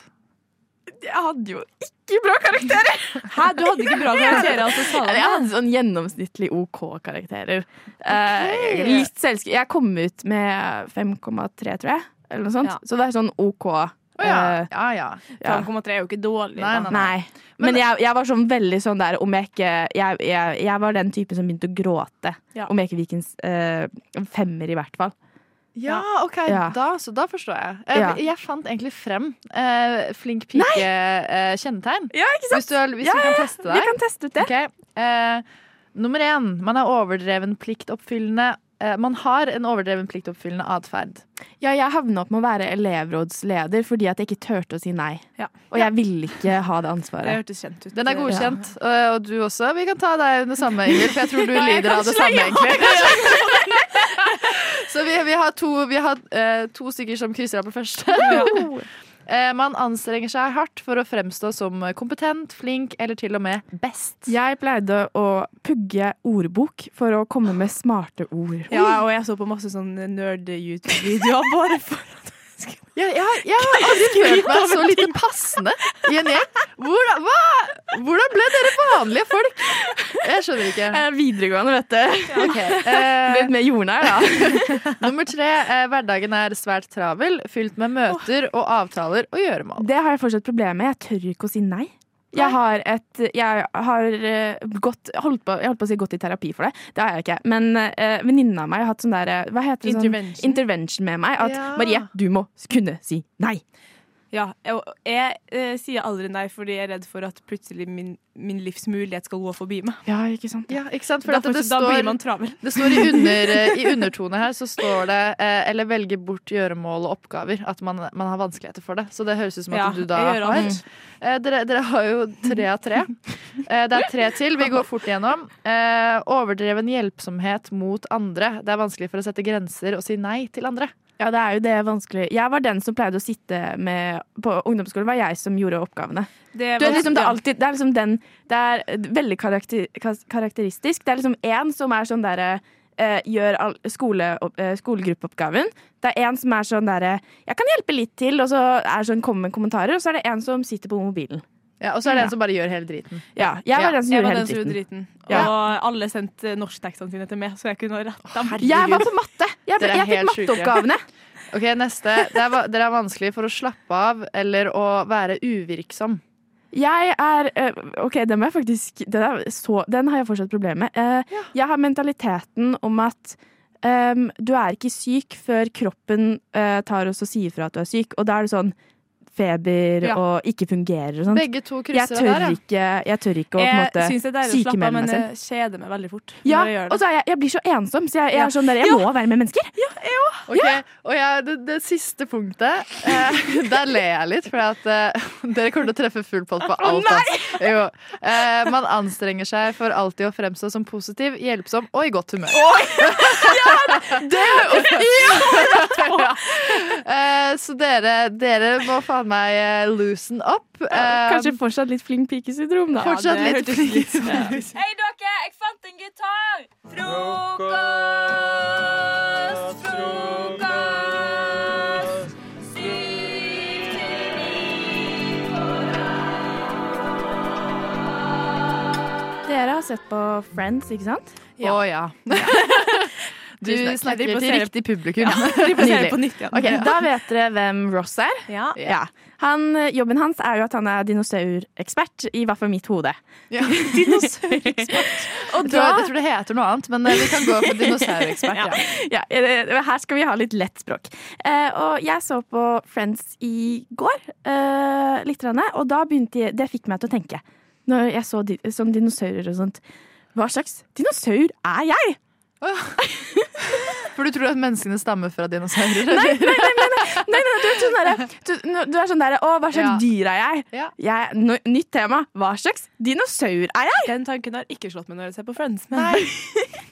Jeg hadde jo ikke bra karakterer! Hæ, du hadde ikke bra karakterer, altså, sa du det? Jeg hadde sånn gjennomsnittlig OK karakterer. Eh, litt selskap. Jeg kom ut med 5,3, tror jeg. Eller noe sånt. Ja. Så det er sånn OK. Å ja. eh, ja, ja. 5,3 er jo ikke dårlig. Nei, nei, nei. Nei. Men jeg, jeg var sånn veldig sånn der om jeg ikke Jeg, jeg, jeg var den typen som begynte å gråte Ja. om jeg ikke fikk en s- eh, en femmer, i hvert fall. Ja, OK, Ja. Da, så da forstår jeg. Jeg, Ja. jeg fant egentlig frem eh, flink pike-kjennetegn. Hvis du, har- hvis Ja, du ja, kan ja. teste Vi deg. kan teste ut det. Ok, eh, nummer én. Man er overdreven pliktoppfyllende. Eh, man har en overdreven pliktoppfyllende atferd. Ja, jeg havna opp med å være elevrådsleder fordi at jeg ikke turte å si nei. Og jeg ville ikke ha det ansvaret. Det hørtes kjent ut. Den er godkjent. Eh, Og du også. Vi kan ta deg under samme, Ingvild, for jeg tror du Ja, jeg lider kan av det slenge samme, av. egentlig. Så vi, vi har, to, vi har eh, to stykker som krysser av på første. Eh, Man anstrenger seg hardt for å fremstå som kompetent, flink eller til og med best. Jeg pleide å pugge ordbok for å komme med smarte ord. Ja, og jeg så på masse sånn nerd-YouTube-videoer bare for at Jeg, jeg, har- jeg har aldri følt meg så lite passende i en gjeng. Hvordan, hva, hvordan ble dere vanlige folk? Jeg skjønner ikke. eh, videregående, vet du. Litt mer jordnær, da. Nummer tre. eh, hverdagen er svært travel, fylt med møter og avtaler og gjøremål. Det har jeg fortsatt problemer med. Jeg tør ikke å si nei. Jeg har, et, jeg har eh, gått, holdt på, jeg holdt på å si gått i terapi for det. Det har jeg ikke. Men uh, venninna av meg har hatt sånn der eh, Hva heter det? Intervention. Sånn, intervention med meg. At Ja. Marie, du må kunne si nei. Ja, jeg, jeg, eh, sier aldri nei, fordi jeg er redd for at plutselig min, min livsmulighet skal gå forbi meg. Ja, ikke sant? Ja, ikke sant? For da, at det får- da står- blir man travel. Det står i, under, eh, i undertone her, så står det eh, 'eller velge bort gjøremål og oppgaver'. At man, man har vanskeligheter for det. Så det høres ut som at Ja, du da jeg har gjør alt. eh, dere, dere har jo tre av tre. Eh, det er tre til. Vi går fort gjennom. Eh, overdreven hjelpsomhet mot andre. Det er vanskelig for å sette grenser og si nei til andre. Ja, det er jo det vanskelig. Jeg var den som pleide å sitte med På ungdomsskolen var jeg som gjorde oppgavene. Det, Det er var- liksom, det, er ja. alltid, det er liksom den Det er veldig karakter, kas- karakteristisk. Det er liksom én som er sånn derre eh, gjør all, skole, opp- eh, skolegruppeoppgaven. Det er én som er sånn derre 'Jeg kan hjelpe litt til', og så er sånn kommer med kommentarer. Og så er det én som sitter på mobilen. Ja, og så er det en som bare gjør hele driten. Ja. Jeg var den som jeg gjorde var hele den som gjorde driten. Ja. Og alle sendte norsktekstene sine til meg, så jeg kunne rette dem. Jeg var på matte! Jeg, Dere er jeg fikk helt sjuke. matteoppgavene. Ok, neste. Det er, va- dere er vanskelig for å slappe av eller å være uvirksom. Jeg er eh, OK, den, er faktisk, den, er så, den har jeg fortsatt problemer med. Eh, Jeg har mentaliteten om at em, du er ikke syk før kroppen eh, tar oss og sier fra at du er syk, og da er det sånn feber Ja. og ikke fungerer og sånn. sånt. Begge to krysser jeg tør der, ja. ikke, jeg tør ikke å Eh, på en måte Jeg syns det er deilig å slappe av, sykemelde men meg jeg selv. kjeder meg veldig fort. Ja, når jeg gjør og det. så er jeg, jeg blir så ensom, så jeg, jeg Ja. er sånn der Jeg Ja. må være med mennesker. Ok, Og jeg, det, det siste punktet, eh, der ler jeg litt, for at, eh, dere kommer til å treffe full pott på alt. ass. Jo, eh, man anstrenger seg for alltid å fremstå som positiv, hjelpsom og i godt humør. Det Ja. Eh, så dere, dere må faen meg eh, loosen up. Eh, Kanskje fortsatt litt flink pike-syndrom, da. Fortsatt Ja, det litt hørtes flink. Hei, dere! Jeg fant en gitar! Frokost, frokost. Syv til ni på Dere har sett på Friends, ikke sant? Å ja. Du Tusen takk. snakker Jeg driver til og ser- riktig publikum. Ja, jeg driver og ser Nydelig. på nytt igjen. Ok, Ok, da vet dere hvem Ross er. Ja. Ja. Han, jobben hans er jo at han er dinosaurekspert, i hvert fall mitt hode. Ja, dinosaurekspert. jeg, tror, jeg tror det heter noe annet, men eh, vi kan gå for dinosaurekspert. Ja. ja. eh, her skal vi ha litt lett språk. Eh, og jeg så på Friends i går, eh, litt, grann, og da begynte jeg, det fikk meg til å tenke, når jeg så di sånn dinosaurer og sånt, hva slags dinosaur er jeg? For du tror at menneskene stammer fra dinosaurer? Nei, nei, eller? nei, nei, nei, nei, nei du, er sånn derre- du, når- du er sånn derre Å, hva slags Ja. dyr er jeg? Ja. jeg nå- nytt tema. Hva slags dinosaur er jeg? Den tanken har ikke slått meg når jeg ser på Friends. Men Nei.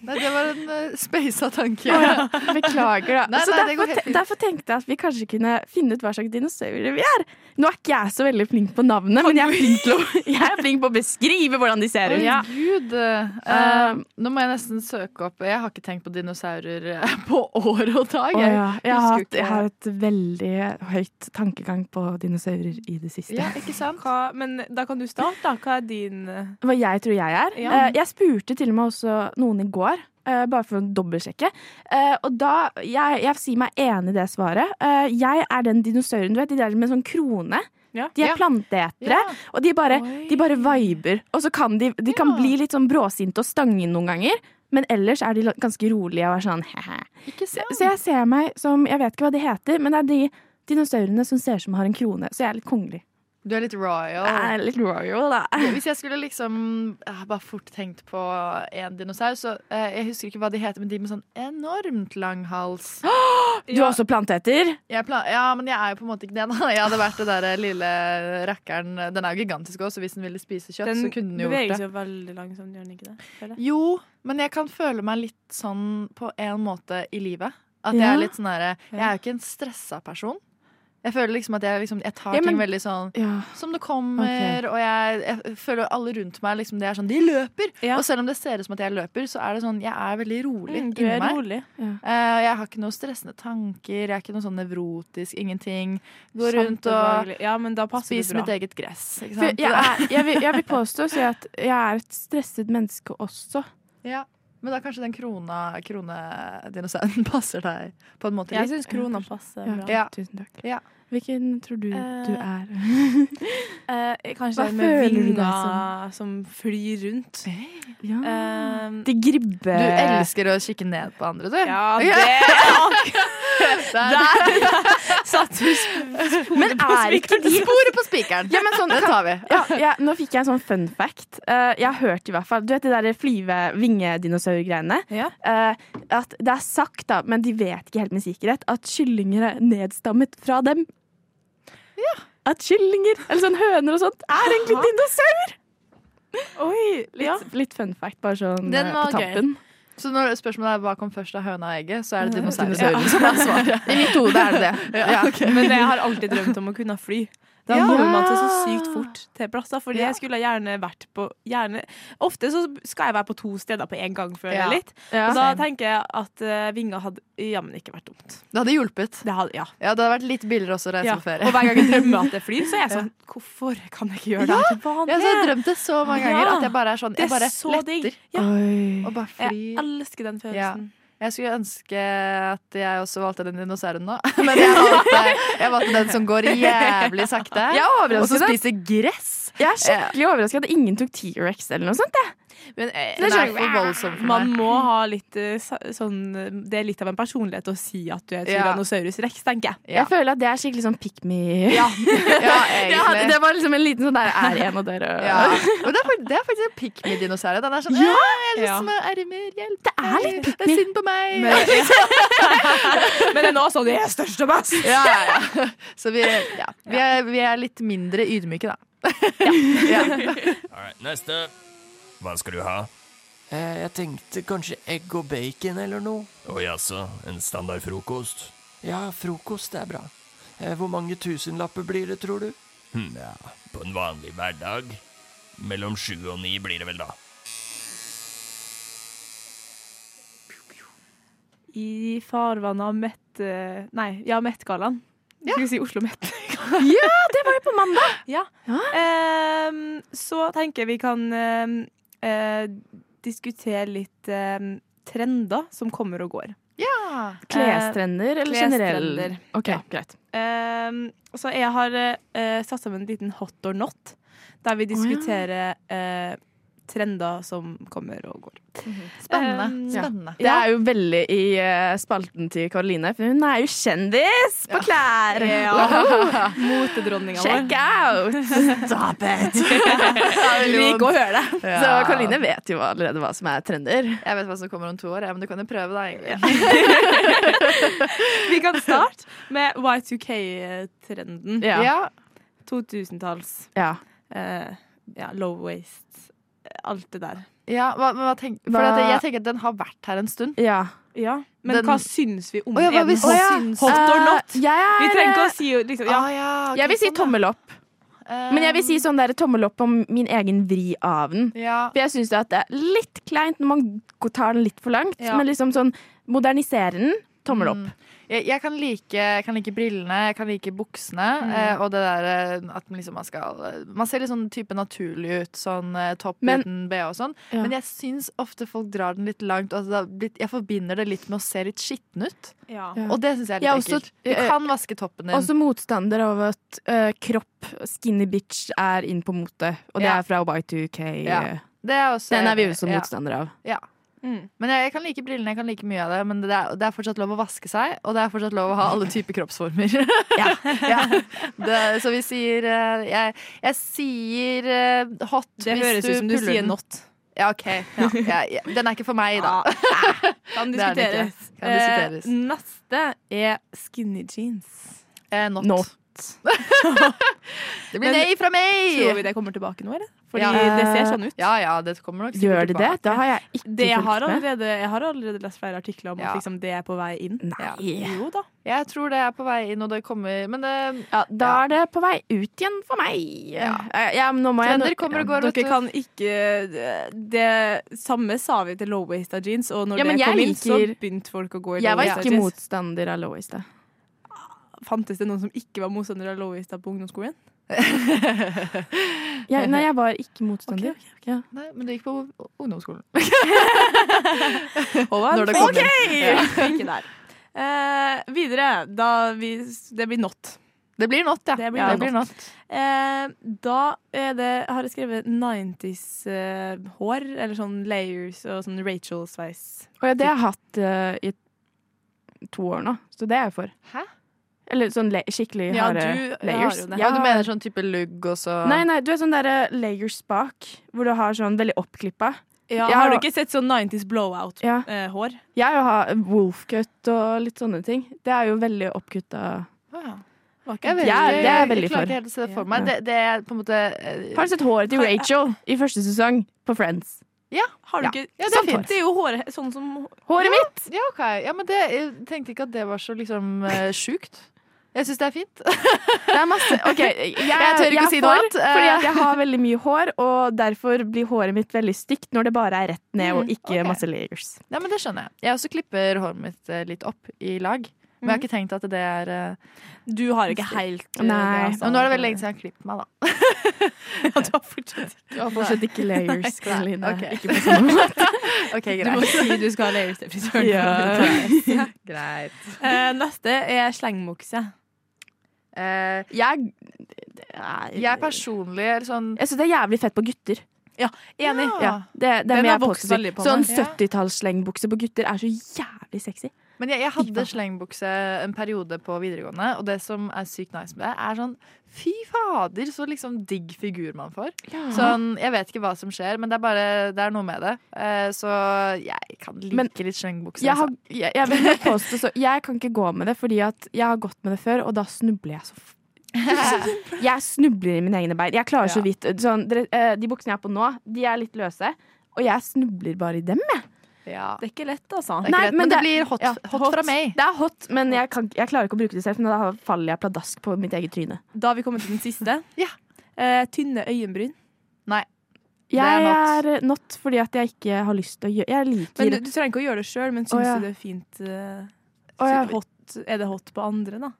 Nei, det var en uh, speisa tanke. Ja, Beklager, da. Nei, så nei, det går derfor, helt te- fint. derfor tenkte jeg at vi kanskje kunne finne ut hva slags dinosaurer vi er. Nå er ikke jeg så veldig flink på navnet, men jeg er flink til å, jeg er flink på å beskrive hvordan de ser Oi, ut. Gud. Eh, nå må jeg nesten søke opp Jeg har ikke tenkt på dinosaurer eh, på år og dag. Å, ja. husker jeg, har jo hatt, ikke- jeg har et veldig høyt tankegang på dinosaurer i det siste. ikke sant? Hva, men da kan du starte, da. Hva er din eh, hva jeg tror jeg er. Ja. Eh, Jeg spurte til og med også noen i går, eh, bare for å dobbeltsjekke. Eh, Og da Jeg, jeg sier meg enig i det svaret. Eh, Jeg er den dinosauren, du vet, de der med sånn krone. De er Ja. planteetere, Ja. og de bare, de bare viber. Og så kan de, de kan bli litt sånn bråsinte og stange noen ganger, men ellers er de la- ganske rolige og er sånn he-he. Så jeg ser meg som Jeg vet ikke hva de heter, men det er de dinosaurene som ser ut som har en krone. Så jeg er litt kongelig. Du er litt royal. Jeg er litt royal, da. Hvis jeg skulle liksom jeg har bare fort tenkt på en dinosaur, så eh, Jeg husker ikke hva de heter, men de med sånn enormt lang hals. Du er også planteeter. Jeg pla ja, men jeg er jo på en måte ikke det. Da. Jeg hadde vært det der lille rakkeren. Den er jo gigantisk òg, så hvis den ville spise kjøtt, Den så kunne den jo gjort beveger det. seg jo veldig langsomt, gjør den ikke det? Føler jeg. Jo, men jeg kan føle meg litt sånn på en måte i livet. At jeg Ja. er litt sånn derre Jeg er jo ikke en stressa person. Jeg føler liksom at jeg, liksom, jeg tar Ja, ting men- veldig sånn Ja. som det kommer, Ok. og jeg, jeg føler alle rundt meg liksom, det er sånn, de løper! Og selv om det ser ut som at jeg løper, så er det sånn, jeg er veldig rolig Mm, du inni er meg. rolig. Eh, og jeg har ikke noe stressende tanker, jeg er ikke noe sånn nevrotisk, ingenting. Går Sant rundt og og behagelig. Ja, men da passer det spiser bra. mitt eget gress. Ikke For sant? jeg er- jeg vil- jeg vil påstå å si at jeg er et stresset menneske også. Ja, men da kanskje den krona, kronedinosauren passer deg på en måte. Jeg litt. synes krona passer Ja. bra. Ja. Tusen takk. Ja. Hvilken tror du du Eh, er? Eh, kanskje Hva det med føler du deg vinga som flyr rundt. Eh, De gribbe... Du elsker å kikke ned på andre, du. Ja, det Der, satt du Men er ikke de Sporet på spikeren. Ja, men sånn, det tar vi. Ja, ja, nå fikk jeg en sånn fun fact. Eh, jeg har hørt i hvert fall Du vet de der flyve-vingedinosaur-greiene? Eh, at det er sagt, da, men de vet ikke helt med sikkerhet, at kyllinger er nedstammet fra dem. At kyllinger, eller sånn høner og sånt, er egentlig dinosaur! Litt, litt fun fact, bare sånn Den eh, var på tampen. gøy. Så når spørsmålet er hva kom først av høna og egget, så er det dinosauren Dinosauren. som er svaret. I mitt hode er det det. Ja, Ja. ok. Men jeg har alltid drømt om å kunne fly. Da Ja. kommer man seg så sykt fort til plasser. Fordi Ja. jeg skulle gjerne vært på gjerne, Ofte så skal jeg være på to steder på en gang, føler Ja. jeg litt. Ja. Og da Same. tenker jeg at uh, vinga hadde jammen ikke vært dumt. Det hadde hjulpet. Det hadde, ja. det hadde vært litt billigere også å reise Ja. på ferie. Og hver gang jeg drømmer at jeg flyr, så er jeg sånn Hvorfor kan jeg ikke gjøre det her til Ja, vanlig? jeg har drømt det så mange ganger Ja. at jeg bare er sånn Det Jeg er bare så digg. letter Ja. og bare Jeg flyr. elsker den Ja. følelsen. Jeg skulle ønske at jeg også valgte den dinosauren nå, men jeg valgte, jeg valgte den som går jævlig sakte. Jeg er overrasket, og så da. spiser gress. Jeg er skikkelig overraska at ingen tok T-rex eller noe sånt. Jeg. Nei, det er for voldsomt for Man meg. må ha litt eh, sa- sånn eh, Det er litt av en personlighet å si at du er Ja. tyrannosaurus rex, tenker jeg. Jeg føler at det er skikkelig sånn pick me. Ja. Jeg hadde- det var liksom en liten sånn der er en av dere. Ja. Og det er, fak- det er faktisk en pick me-dinosaur. Den er sånn Ja. ja. Jeg har lyst liksom til å være mer hjelp. Det er litt pick Synd på meg. Men den er også sånn Jeg er størst og best! Ja, ja, ja. Så vi, ja. Vi, er, vi er litt mindre ydmyke, da. Alright, neste. Hva skal du ha? Eh, jeg tenkte kanskje egg og bacon eller noe. Å jaså, en standard frokost? Ja, frokost er bra. Eh, hvor mange tusenlapper blir det, tror du? Hm, ja. På en vanlig hverdag? Mellom sju og ni blir det vel, da. I farvannet av Met... eh, Nei, ja, Met-gallaen. Skulle si Oslo Met. ja, det var jo på mandag! Ja. Ehm, så tenker jeg vi kan ehm, eh, diskutere litt ehm, trender som kommer og går. Ja. Klestrender eller generell? Klestrender. Ok, greit. Ehm, så jeg har eh, satt sammen en liten hot or not, der vi diskuterer eh, trender som kommer og går. Mhm. Spennende. Ehm, Spennende. Det er jo veldig i eh, spalten til Karoline, for hun er jo kjendis på klær! Ja. Motedronninga vår. Check out! Stop it! Lik å høre det. Så Karoline vet jo allerede hva som er trender. Jeg vet hva som kommer om to år, ja, men du kan jo prøve, da. egentlig. Vi kan starte med Y2K-trenden. Ja. Ja. 2000-talls. Ja. Eh, ja, low waste. Alt det der. Ja, hva, men hva tenk, for Hva- at jeg tenker at den har vært her en stund. Ja. Men Den- hva syns vi om Å ja, hva den? vi syns. Hot or not? Eh, jeg er- vi trenger ikke å si liksom, ja. jeg vil si tommel opp. Men jeg vil si sånn der, tommel opp om min egen vri av den. Ja. For jeg syns det er litt kleint når man g- tar den litt for langt, Ja. men liksom sånn modernisere den. Tommel opp. Jeg, jeg, kan like, jeg kan like brillene, jeg kan like buksene. Mm. Eh, og det der eh, at man liksom man skal eh, Man ser litt sånn type naturlig ut, sånn eh, topp Men- uten bh og sånn. Ja. Men jeg syns ofte folk drar den litt langt. Og at det har blitt, jeg forbinder det litt med å se litt skitten ut. Ja. Og det syns jeg er litt Jeg er også- ekkelt. Du eh, kan vaske toppen din. Også motstander av at eh, kropp, skinny bitch, er inn på mote. Og det Ja. er fra Y2K. Ja. eh, Det er også- Den er vi også ja. motstandere av. Ja. Men jeg, jeg kan like brillene, jeg kan like mye av det, men det er, det er fortsatt lov å vaske seg, og det er fortsatt lov å ha alle typer kroppsformer. ja. Det, så vi sier eh, Jeg, jeg sier eh, hot Det høres ut som du sier not. Ah. Ja, OK. Ja, jeg- jeg- den er ikke for meg, da. Kan Det er det ikke. diskuteres. Kan diskuteres. Eh, neste er skinny jeans. Eh, not. Not. det blir nei fra meg! Tror vi det kommer tilbake nå, eller? Fordi det ser sånn ut. Ja, ja, det kommer nok Gjør sikkert det det? tilbake. Da har jeg ikke Det jeg, har fulgt med. allerede, jeg har allerede lest flere artikler om Ja. at liksom, det er på vei inn. Jo da. Jeg tror det er på vei inn, og det kommer Men eh, det Da er det på vei ut igjen for meg. Ja, ja men nå må jeg Trender kommer og går, vet Dere du. kan ikke eh, Det samme sa vi til low-waista jeans, og når Ja, men det jeg kom inn, så liker- begynte folk å gå i Jeg var low-waista ikke jeans. motstander av Lois, da. Fantes det noen som ikke var motstander av low-waista på ungdomsskolen? Jeg, nei, jeg var ikke motstander. Ja. Nei, men det gikk på ungdomsskolen. Når Når det kommer. OK! Ja. Ikke der. Eh, videre. Da vi Det blir not. Det blir not, ja. Det blir Ja, det not. blir not. Eh, da er det, har jeg skrevet 90s-hår, eller sånn layers og sånn Rachel-sveis. Og ja, det har jeg hatt eh, i to år nå, så det er jeg for. Hæ? Eller sånn le skikkelig Ja, harde du har layers. jo det. Ja, du mener sånn type lugg og så Nei, nei, du er sånn der eh, layers bak, hvor du har sånn veldig oppklippa. Ja, har du ikke sett sånn eh, 90s blowout-hår? Jeg har wolfcut og litt sånne ting. Det er jo veldig oppkutta. Jeg vet Ja, ikke, det er jeg veldig Jeg klarer for. ikke helt å se det for meg. Det, det er på en måte eh, Har du sett håret til kan- Rachel i første sesong på Friends? Ja. Har du Ja. ikke Ja, det er Sånn fint. Det er jo håret sånn som Håret ja. mitt! Ja, ok. Ja, men det, jeg tenkte ikke at det var så liksom eh, sjukt. Jeg syns det er fint. Det er masse OK, jeg, Jeg tør ikke er si noe for, annet. Eh. Fordi at jeg har veldig mye hår, og derfor blir håret mitt veldig stygt når det bare er rett ned og Mm, ikke ok. masse layers. Nei, men det skjønner jeg. Jeg også klipper håret mitt eh, litt opp i lag. Men jeg har ikke tenkt at det er Du har ikke helt, eh, Nei. det, altså. Men nå er det veldig lenge siden jeg har klippet meg, da. Du har fortsatt ikke layers, Karoline. Ok. Ikke på samme måte. greit. Du må si du skal ha layers til frisøren. Ja. Greit. Eh, neste er slengmokse. Eh, jeg Jeg personlig er sånn Jeg syns det er jævlig fett på gutter. Ja, enig. Ja, det, det Den må har jeg vokst påstå. veldig på Sånn meg. 70-tallsslengbukse på gutter er så jævlig sexy. Men jeg, jeg hadde slengbukse en periode på videregående, og det som er sykt nice med det, er sånn Fy fader, så liksom digg figur man får. Ja. Sånn, Jeg vet ikke hva som skjer, men det er bare Det er noe med det. Eh, så jeg kan like Men litt slengbukse. Jeg, har, altså. jeg, jeg vil bare påstå så Jeg kan ikke gå med det, fordi at jeg har gått med det før, og da snubler jeg så f- Jeg snubler i mine egne bein. Jeg klarer så vidt sånn, dere, eh, De buksene jeg har på nå, de er litt løse, og jeg snubler bare i dem, jeg. Det er ikke lett, altså. Nei, men det, er- blir hot, ja, hot, fra meg. Det er hot, men jeg, kan, jeg klarer ikke å bruke det selv, for da faller jeg pladask på mitt eget tryne. Da har vi kommet til den siste. eh, tynne øyenbryn. Nei. Jeg not. er eh, not fordi at jeg ikke har lyst til å gjøre Jeg liker Men du, du trenger ikke å gjøre det sjøl, men Å, syns ja. du det er fint eh, Å, ja. hot, Er det hot på andre, da?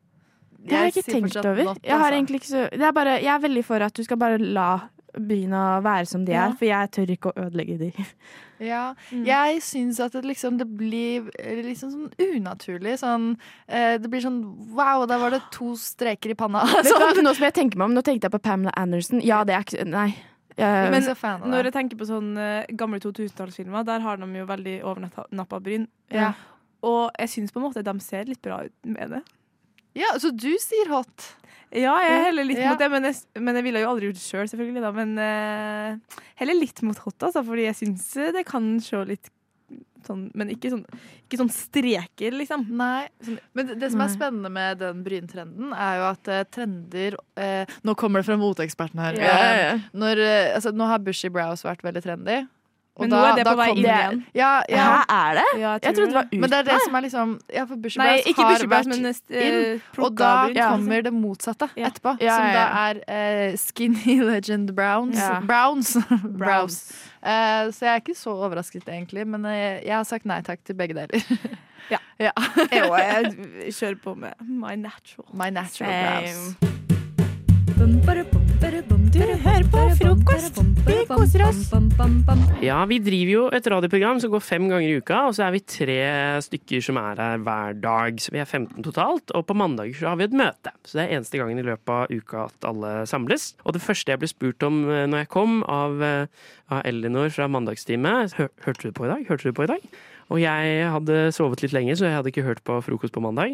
Det har Jeg jeg ikke sier tenkt fortsatt over. not, jeg, har altså. egentlig ikke så, det er bare, jeg er veldig for at du skal bare la bryna være som de Ja. er, for jeg tør ikke å ødelegge de. Mm. Ja. Jeg syns at det liksom det blir eh, liksom sånn unaturlig. Sånn eh, Det blir sånn wow, der var det to streker i panna. Vet du hva, Sånn. nå som jeg tenker meg om, nå tenkte jeg på Pamela Anderson. Ja, det er ikke Nei. Eh, Jeg- Men når jeg tenker på sånne eh, gamle 2000-tallsfilmer, der har de jo veldig overnappa bryn. Ja. Og jeg syns på en måte de ser litt bra ut med det. Ja, så du sier hot? Ja, jeg heller litt Ja. mot det, men jeg, men jeg ville jo aldri gjort det sjøl, selv, selvfølgelig. Da. Men eh, heller litt mot hot, altså, fordi jeg syns det kan se litt sånn Men ikke sånn, ikke sånn streker, liksom. Nei. Men det- det som er Nei. spennende med den bryntrenden, er jo at eh, trender eh, Nå kommer det fra moteeksperten her. Ja, ja, ja. Eh, Når, eh, altså, nå har bushy brows vært veldig trendy. Men nå er det på vei kom- inn igjen. Ja, ja. Hæ, er det? Ja, jeg jeg, tror trodde det var det. ut. Men det er det som er liksom ja, for bushy Nei, brows ikke har bushy brows, vært men, eh, inn, plukka og da bryn, ja. kommer det motsatte etterpå. Ja, Som da ja, ja. er eh, skinny legend browns. Ja. Browns. brows. Eh, så jeg er ikke så overrasket, egentlig. Men eh, jeg har sagt nei takk til begge deler. Ja. ja. Jeg, og jeg kjører på med my natural. My natural brows. Du hører på frokost! Vi koser oss! Ja, vi driver jo et radioprogram som går fem ganger i uka, og så er vi tre stykker som er her hver dag. Så vi er 15 totalt, og på mandager så har vi et møte. Så det er eneste gangen i løpet av uka at alle samles. Og det første jeg ble spurt om eh, når jeg kom, av, eh, av Elinor fra mandagstime, Hør, hørte du på i dag? Hørte du på i dag? Og jeg hadde sovet litt lenge, så jeg hadde ikke hørt på frokost på mandag.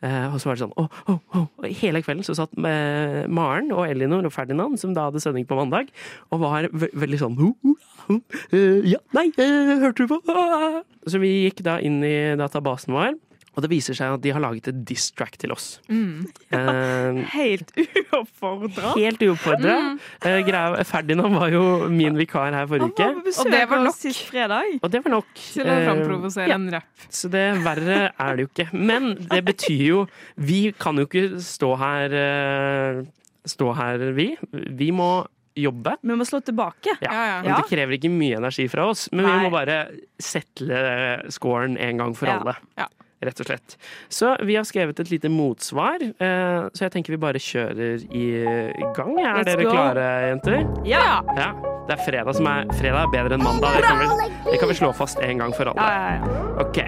Eh, og så var det sånn åh, åh, åh. Og Hele kvelden så satt eh, Maren og Elinor og Ferdinand, som da hadde sending på mandag, og var ve veldig sånn «Ho, ho, ho, eh, Ja, nei, eh, hørte du på? Ah!» Så vi gikk da inn i databasen vår. Og det viser seg at de har laget et diss-track til oss. Mm. Eh, Helt uoppfordra. Helt uoppfordra. Mm. Eh, greia- Ferdinand var jo min vikar her forrige uke. Og det var nok. Sist fredag. Og det var nok. Til å framprovosere Eh, en rapp. Så det verre er det jo ikke. Men det betyr jo Vi kan jo ikke stå her eh, Stå her, vi. Vi må jobbe. Vi må slå tilbake. Ja, Men det krever ikke mye energi fra oss. Men vi må bare settle eh, scoren en gang for Ja. alle. Ja. Rett og slett. Så vi har skrevet et lite motsvar, eh, så jeg tenker vi bare kjører i gang. Let's Er dere go. klare, jenter? Ja. Ja. Det er fredag som er Fredag er bedre enn mandag. Det kan vi, det kan vi slå fast en gang for alle. Ok.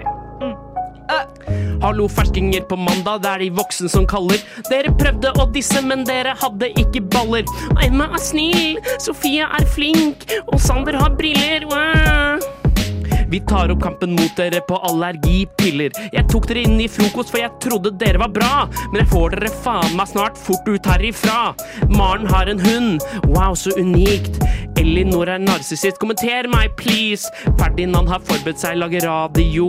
Ah. Hallo, ferskinger på mandag, det er de voksne som kaller. Dere prøvde å disse, men dere hadde ikke baller. Emma er snill, Sofie er flink, og Sander har briller. Wow. Vi tar opp kampen mot dere på allergipiller. Jeg tok dere inn i frokost, for jeg trodde dere var bra. Men jeg får dere faen meg snart fort ut herifra. Maren har en hund. Wow, så unikt. Elinor er narsissist. Kommenter meg, please. Ferdinand har forberedt seg, lager radio.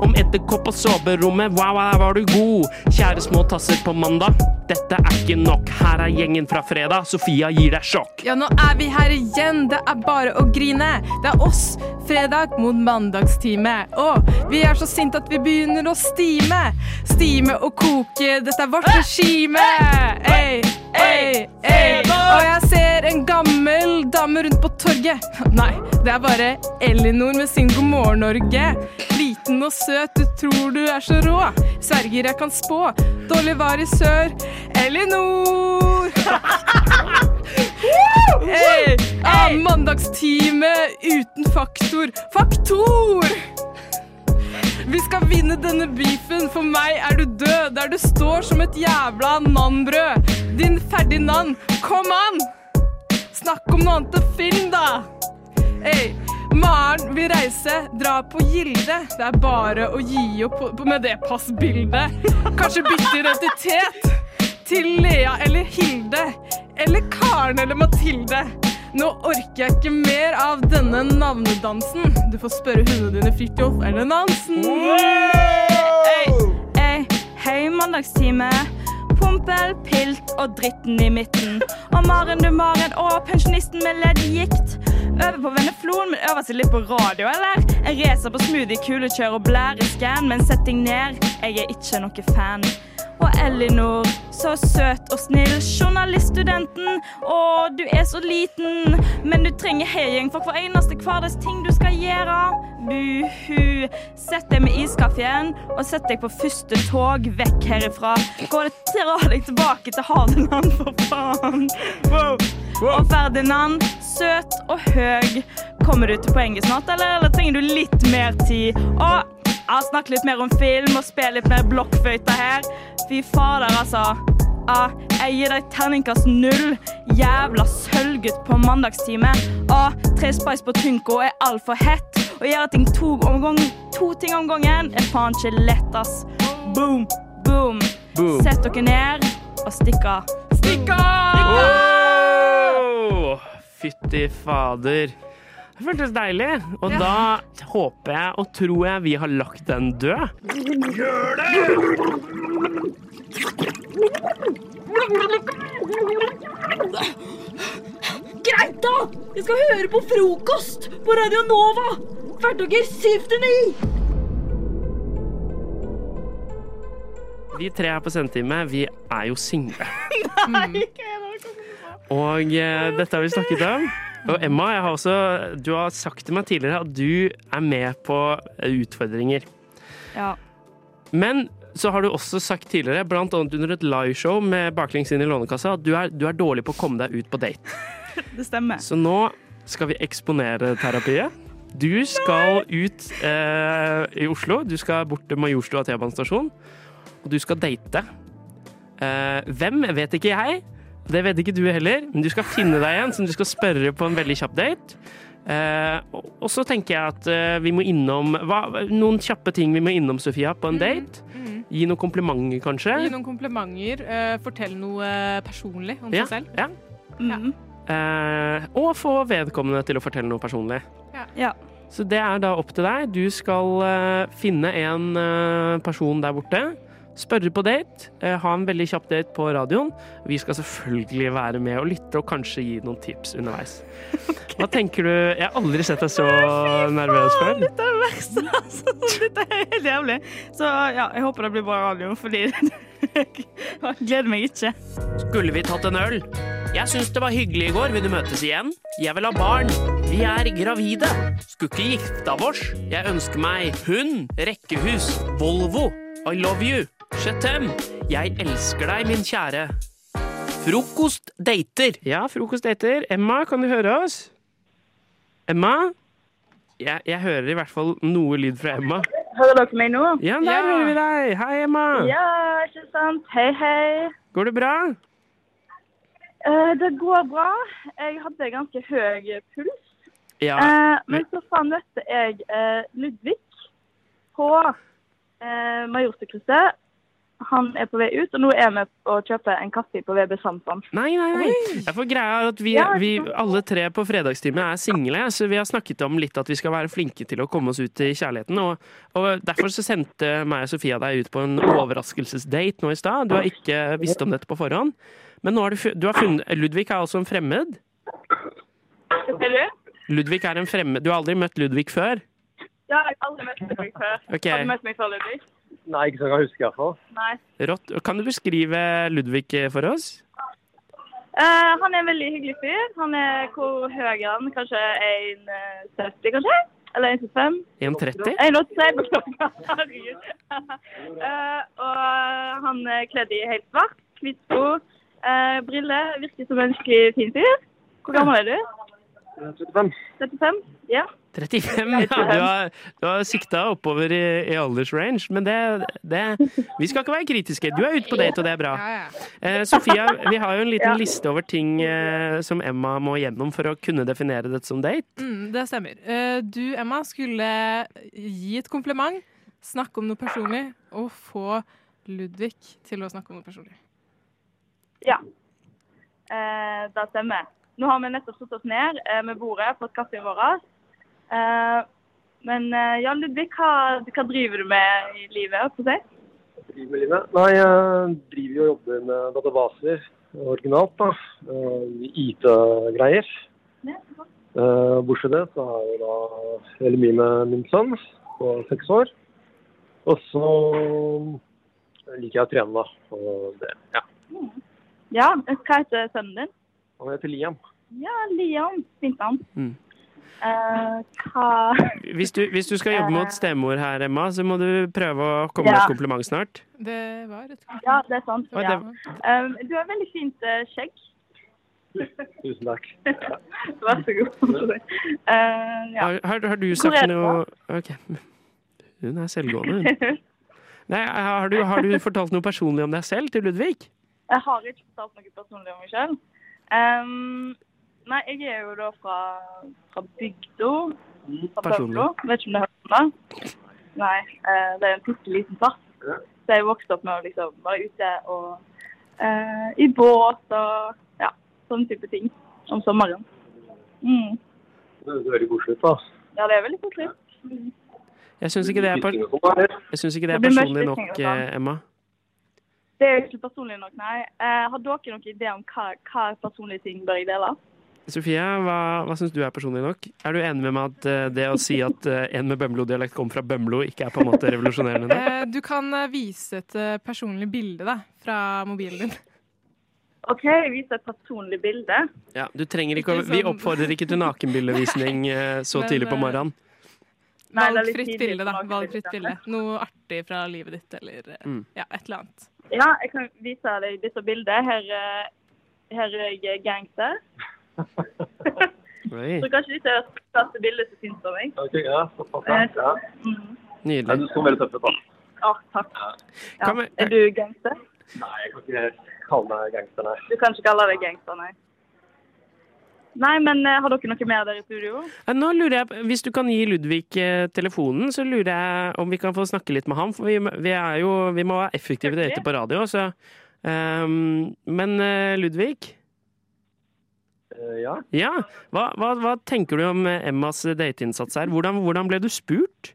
Om etterkopp og soverommet, wow, her var du god. Kjære små tasser på mandag. Dette er ikke nok. Her er gjengen fra fredag. Sofia gir deg sjokk. Ja, nå er vi her igjen. Det er bare å grine. Det er oss fredag mot mandagstime. Og vi er så sinte at vi begynner å stime. Stime og koke, dette er vårt regime. Ei, ei, ei. Og jeg ser en gammel dame rundt på torget. Nei, det er bare Elinor med sin God morgen, Norge. Liten og søt, du tror du er så rå. Sverger jeg kan spå. Dårlig var i sør. Elinor. Hey! Ah, mandagstime uten faktor. Faktor! Vi skal vinne denne beefen. For meg er du død, der du står som et jævla nannbrød. Din Ferdinand, kom an! Snakk om noe annet enn film, da! Hey. Maren vil reise, dra på Gilde. Det er bare å gi opp på- med det passbildet. Kanskje bytte identitet til Lea eller Hilde. Eller Karen eller Mathilde. Nå orker jeg ikke mer av denne navnedansen. Du får spørre hundene dine Fridtjof eller Nansen. Eh, Ei, hei, mandagstime. Pompel, pilt og dritten i midten. Og Maren, du Maren, og pensjonisten med leddgikt. Øver på venneflon, men øver seg litt på radio, eller? Jeg racer på smoothie, kulekjør og blærescan, men sett deg ned, jeg er ikke noe fan. Og Elinor, så søt og snill, journaliststudenten. Å, du er så liten, men du trenger heiing for hver eneste hverdags ting du skal gjøre. Buhu. Sett deg med iskaffen, og sett deg på første tog vekk herifra. Går det dra deg tilbake til Hadeland, for faen. Wow. Og Ferdinand, søt og høy. Kommer du til poenget snart, eller, eller trenger du litt mer tid? Og ja, snakk litt mer om film og spill litt mer blokkføyter her. Fy fader, altså. Ja, jeg gir deg terningkast null. Jævla sølvgutt på mandagstime. Ja, tre spice på tynko er altfor hett. Å gjøre ting to, om gang- to ting om gangen er faen ikke lett, ass. Boom, boom. Boom. Sett dere ned og stikk av. Stikk Wow! Fytti fader. Det føltes deilig. Og da håper jeg og tror jeg vi har lagt den død. Gjør det! Greit, da! Jeg skal høre på frokost på Radio Nova! Hverdager 7 til 9! Vi tre her på Sendetime, vi er jo single. Mm. Nei! Og eh, dette har vi snakket om. Og Emma, jeg har også, du har sagt til meg tidligere at du er med på eh, utfordringer. Ja. Men så har du også sagt tidligere, blant annet under et liveshow med baklengs inn i Lånekassa, at du er, du er dårlig på å komme deg ut på date. Det stemmer. Så nå skal vi eksponere terapiet. Du skal ut eh, i Oslo. Du skal bort til Majorstua T-banestasjon. Og du skal date. Eh, hvem vet ikke jeg. Det vet ikke du heller. Men du skal finne deg en som du skal spørre på en veldig kjapp date. Eh, og og så tenker jeg at eh, vi må innom hva, noen kjappe ting vi må innom, Sofia, på en date. Gi noen komplimenter, kanskje. Gi noen komplimenter. eh, fortell noe personlig om Ja, seg selv. ja. Ja. Mm. Eh, og få vedkommende til å fortelle noe personlig. Ja. Så det er da opp til deg. Du skal eh, finne en eh, person der borte. Spørre på date. eh, ha en veldig kjapp date på radioen. Vi skal selvfølgelig være med og lytte og kanskje gi noen tips underveis. Hva tenker du? Jeg har aldri sett deg så nervøs før. Dette er verst, altså. Dette er helt jævlig. Så ja, jeg håper det blir bra radio, fordi jeg gleder meg ikke. Skulle vi tatt en øl? Jeg syns det var hyggelig i går. Vil du møtes igjen? Jeg vil ha barn. Vi er gravide. Skulle ikke gifte av oss. Jeg ønsker meg hund, rekkehus, Volvo. I love you. Chetem. Jeg elsker deg, min kjære. Frokostdater. Ja, frokostdater. Emma, kan du høre oss? Emma? Jeg, jeg hører i hvert fall noe lyd fra Emma. Hører dere meg nå? Ja, der hører vi deg. Hei, Emma. Ja, ikke sant. Hei, hei. Går det bra? Eh, det går bra. Jeg hadde ganske høy puls. Ja. Eh, men så faen møtte jeg eh, Ludvig på eh, Majorstukrysset. Han er på vei ut, og nå er vi og kjøper en kaffe på VB Sampan. Nei, nei, nei. Ja, for greia er at vi, Ja, vi alle tre på fredagstimen er single, så vi har snakket om litt at vi skal være flinke til å komme oss ut i kjærligheten. Og, og derfor så sendte meg og Sofia deg ut på en overraskelsesdate nå i stad. Du har ikke visst om dette på forhånd. Men nå har du, fu- du har funnet Ludvig er også en fremmed. Er du? Ludvig er en fremmed. Du har aldri møtt Ludvig før? Ja, jeg har aldri møtt deg før. Ok. Har du møtt meg før, Ludvig? Nei, ikke så jeg kan huske i hvert fall. Nei. Rått. Kan du beskrive Ludvig for oss? Eh, han er en veldig hyggelig fyr. Han er hvor høy er han? Kanskje 1,70, kanskje? Eller 1,75? 1,30? 1,86 på klokka. Herregud. Eh, og han er kledd i helt svart. Hvitt sko. eh, briller. Virker som en skikkelig fin fyr. Hvor gammel er du? 35. 35? Ja. 35, ja. Du har, du har sikta oppover i, i aldersrange, men det, det Vi skal ikke være kritiske. Du er ute på date, og det er bra. Eh, Sofia, vi har jo en liten Ja. liste over ting eh, som Emma må gjennom for å kunne definere dette som date. Mm, det stemmer. Eh, Du, Emma, skulle gi et kompliment, snakke om noe personlig, og få Ludvig til å snakke om noe personlig. Ja. Eh, det stemmer. Nå har vi nettopp satt oss ned eh, med bordet, fått kaffen vår. Eh, men eh, ja, Ludvig, hva, hva driver du med i livet? holdt på å si? Driver med livet. Nei, jeg driver jo og jobber med databaser originalt, da. Eh, IT-greier. Eh, bortsett fra det så er jeg da veldig mye med min sønn på seks år. Og så liker jeg å trene, da. Og det, ja. Ja, hva heter sønnen din? Han heter Liam. Ja, Liam. Fint navn. Mm. Eh, hva Hvis du, hvis du skal jobbe mot stemor her, Emma, så må du prøve å komme Ja. med et kompliment snart. Det var et Ja, det er sant. Oi, ja. det- Eh, du har veldig fint eh, skjegg. Tusen takk. Vær så god. Eh, ja. Har, har, har du Hvor er sagt du noe Ok. Hun er selvgående, hun. Nei, har du, har du fortalt noe personlig om deg selv til Ludvig? Jeg har ikke fortalt noe personlig om meg selv. Ehm, nei, jeg er jo da fra, fra bygda. Fra personlig. Bøvlo. Vet ikke om det hører om det? Nei, eh, det er en bitte liten plass. Så jeg vokste opp med å liksom være ute og eh, i båt og ja, sånne type ting om sommeren. Mm. Det høres veldig koselig ut, da. Ja, det er veldig koselig. Mm. Jeg syns ikke det er, per jeg synes ikke det er Det blir mørkt personlig i nok, senga, da. eh, Emma. Det er jo ikke personlig nok, nei. Eh, har dere noen idé om hva, hva personlige ting bør jeg dele? Sofia, hva, hva syns du er personlig nok? Er du enig med meg at eh, det å si at eh, en med Bømlo-dialekt kom fra Bømlo, ikke er på en måte revolusjonerende? nok? Eh, Du kan eh, vise et eh, personlig bilde da, fra mobilen din. OK, jeg viser et personlig bilde. Ja, du trenger ikke å, Vi oppfordrer ikke til nakenbildevisning eh, så Men, tidlig på eh, morgenen. Nei, det er litt Valgfritt tidlig bilde, for da. mange Valgfritt til å bilde. Noe artig fra livet ditt, eller eh, Mm. ja, et eller annet. Ja, jeg kan vise deg dette bildet. Her, eh, her er jeg gangster. Oi, Så kanskje dette er det første bildet som finnes av meg. Eh, Ok, ja, såpass, ja. ja. nydelig. Nei, du så veldig tøff ut, da. Å, takk. Ja. Kan vi- Er du gangster? Nei, jeg kan ikke kalle meg gangster, nei. Du kan ikke kalle deg gangster, nei. Nei, men eh, har dere noe mer der i studio? Eh, Nå lurer jeg, på- Hvis du kan gi Ludvig eh, telefonen, så lurer jeg om vi kan få snakke litt med ham. For vi, vi, er jo, vi må være effektive til dette på radio. Så. ehm, men eh, Ludvig? Eh, Eh, ja. Ja, hva, hva, hva tenker du om eh, Emmas dateinnsats her? Hvordan, hvordan ble du spurt?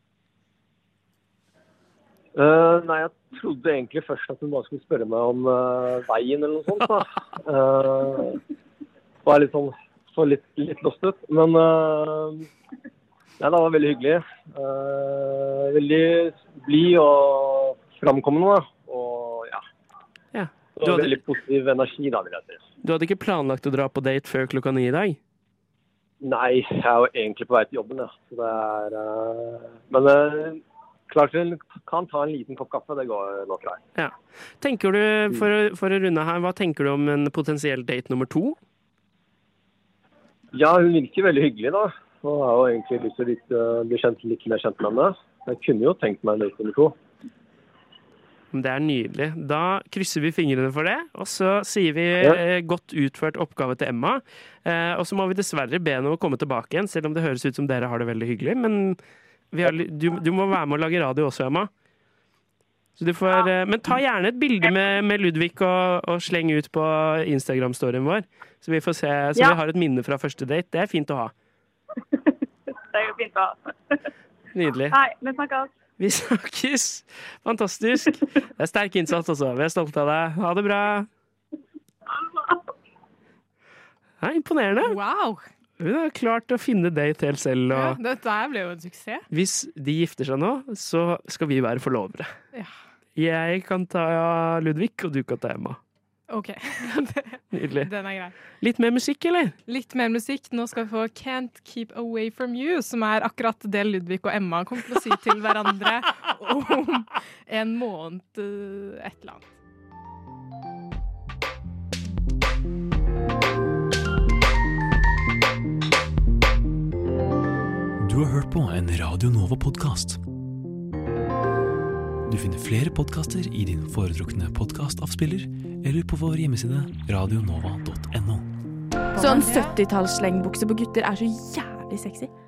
Eh, nei, jeg trodde egentlig først at hun bare skulle spørre meg om eh, veien eller noe sånt. da. Eh, var litt sånn så litt, litt lost ut. Men eh, nei, det var veldig hyggelig. Eh, veldig blid og framkommende. da. Og ja. Ja. Så Du hadde- Veldig positiv energi, da, vil jeg si. Du hadde ikke planlagt å dra på date før klokka ni i dag? Nei, jeg er jo egentlig på vei til jobben, ja. Så det er, eh, men eh, klart hun kan ta en liten kopp kaffe, det går nok greit. Mm. Ja. Tenker du, for, å- for å runde her, hva tenker du om en potensiell date nummer to? Ja, hun virker veldig hyggelig, da. Og jeg har jo egentlig lyst til å litt, eh, bli kjent litt mer kjent med henne. Jeg kunne jo tenkt meg en date nummer to. Men Det er nydelig. Da krysser vi fingrene for det, og så sier vi Ja. eh, godt utført oppgave til Emma. Eh, og så må vi dessverre be henne å komme tilbake igjen, selv om det høres ut som dere har det veldig hyggelig. Men vi har, li- du, du må være med og lage radio også, Emma. Så du får, eh, men ta gjerne et bilde med, med Ludvig og, og sleng ut på Instagram-storyen vår. Så vi får se, så Ja. vi har et minne fra første date. Det er fint å ha. Det er jo fint å ha. Nydelig. Nei, vi snakkes. Vi snakkes! Fantastisk. Det er sterk innsats, altså. Vi er stolte av deg. Ha det bra. Det er imponerende. Wow! Hun har klart å finne date helt selv. Ja, Og dette her ble jo en suksess. hvis de gifter seg nå, så skal vi være forlovere. Ja, Jeg kan ta Ludvig, og du kan ta Emma. OK. Nydelig. Den er grei. Litt mer musikk, eller? Litt mer musikk. Nå skal vi få Can't Keep Away From You, som er akkurat det Ludvig og Emma kommer til å si til hverandre om en måned, eh, et eller annet. Du har hørt på en Radio Nova-podkast. Du finner flere podkaster i din foretrukne podkastavspiller eller på vår hjemmeside radionova.no. Sånn 70-tallsslengbukse på gutter er så jævlig sexy.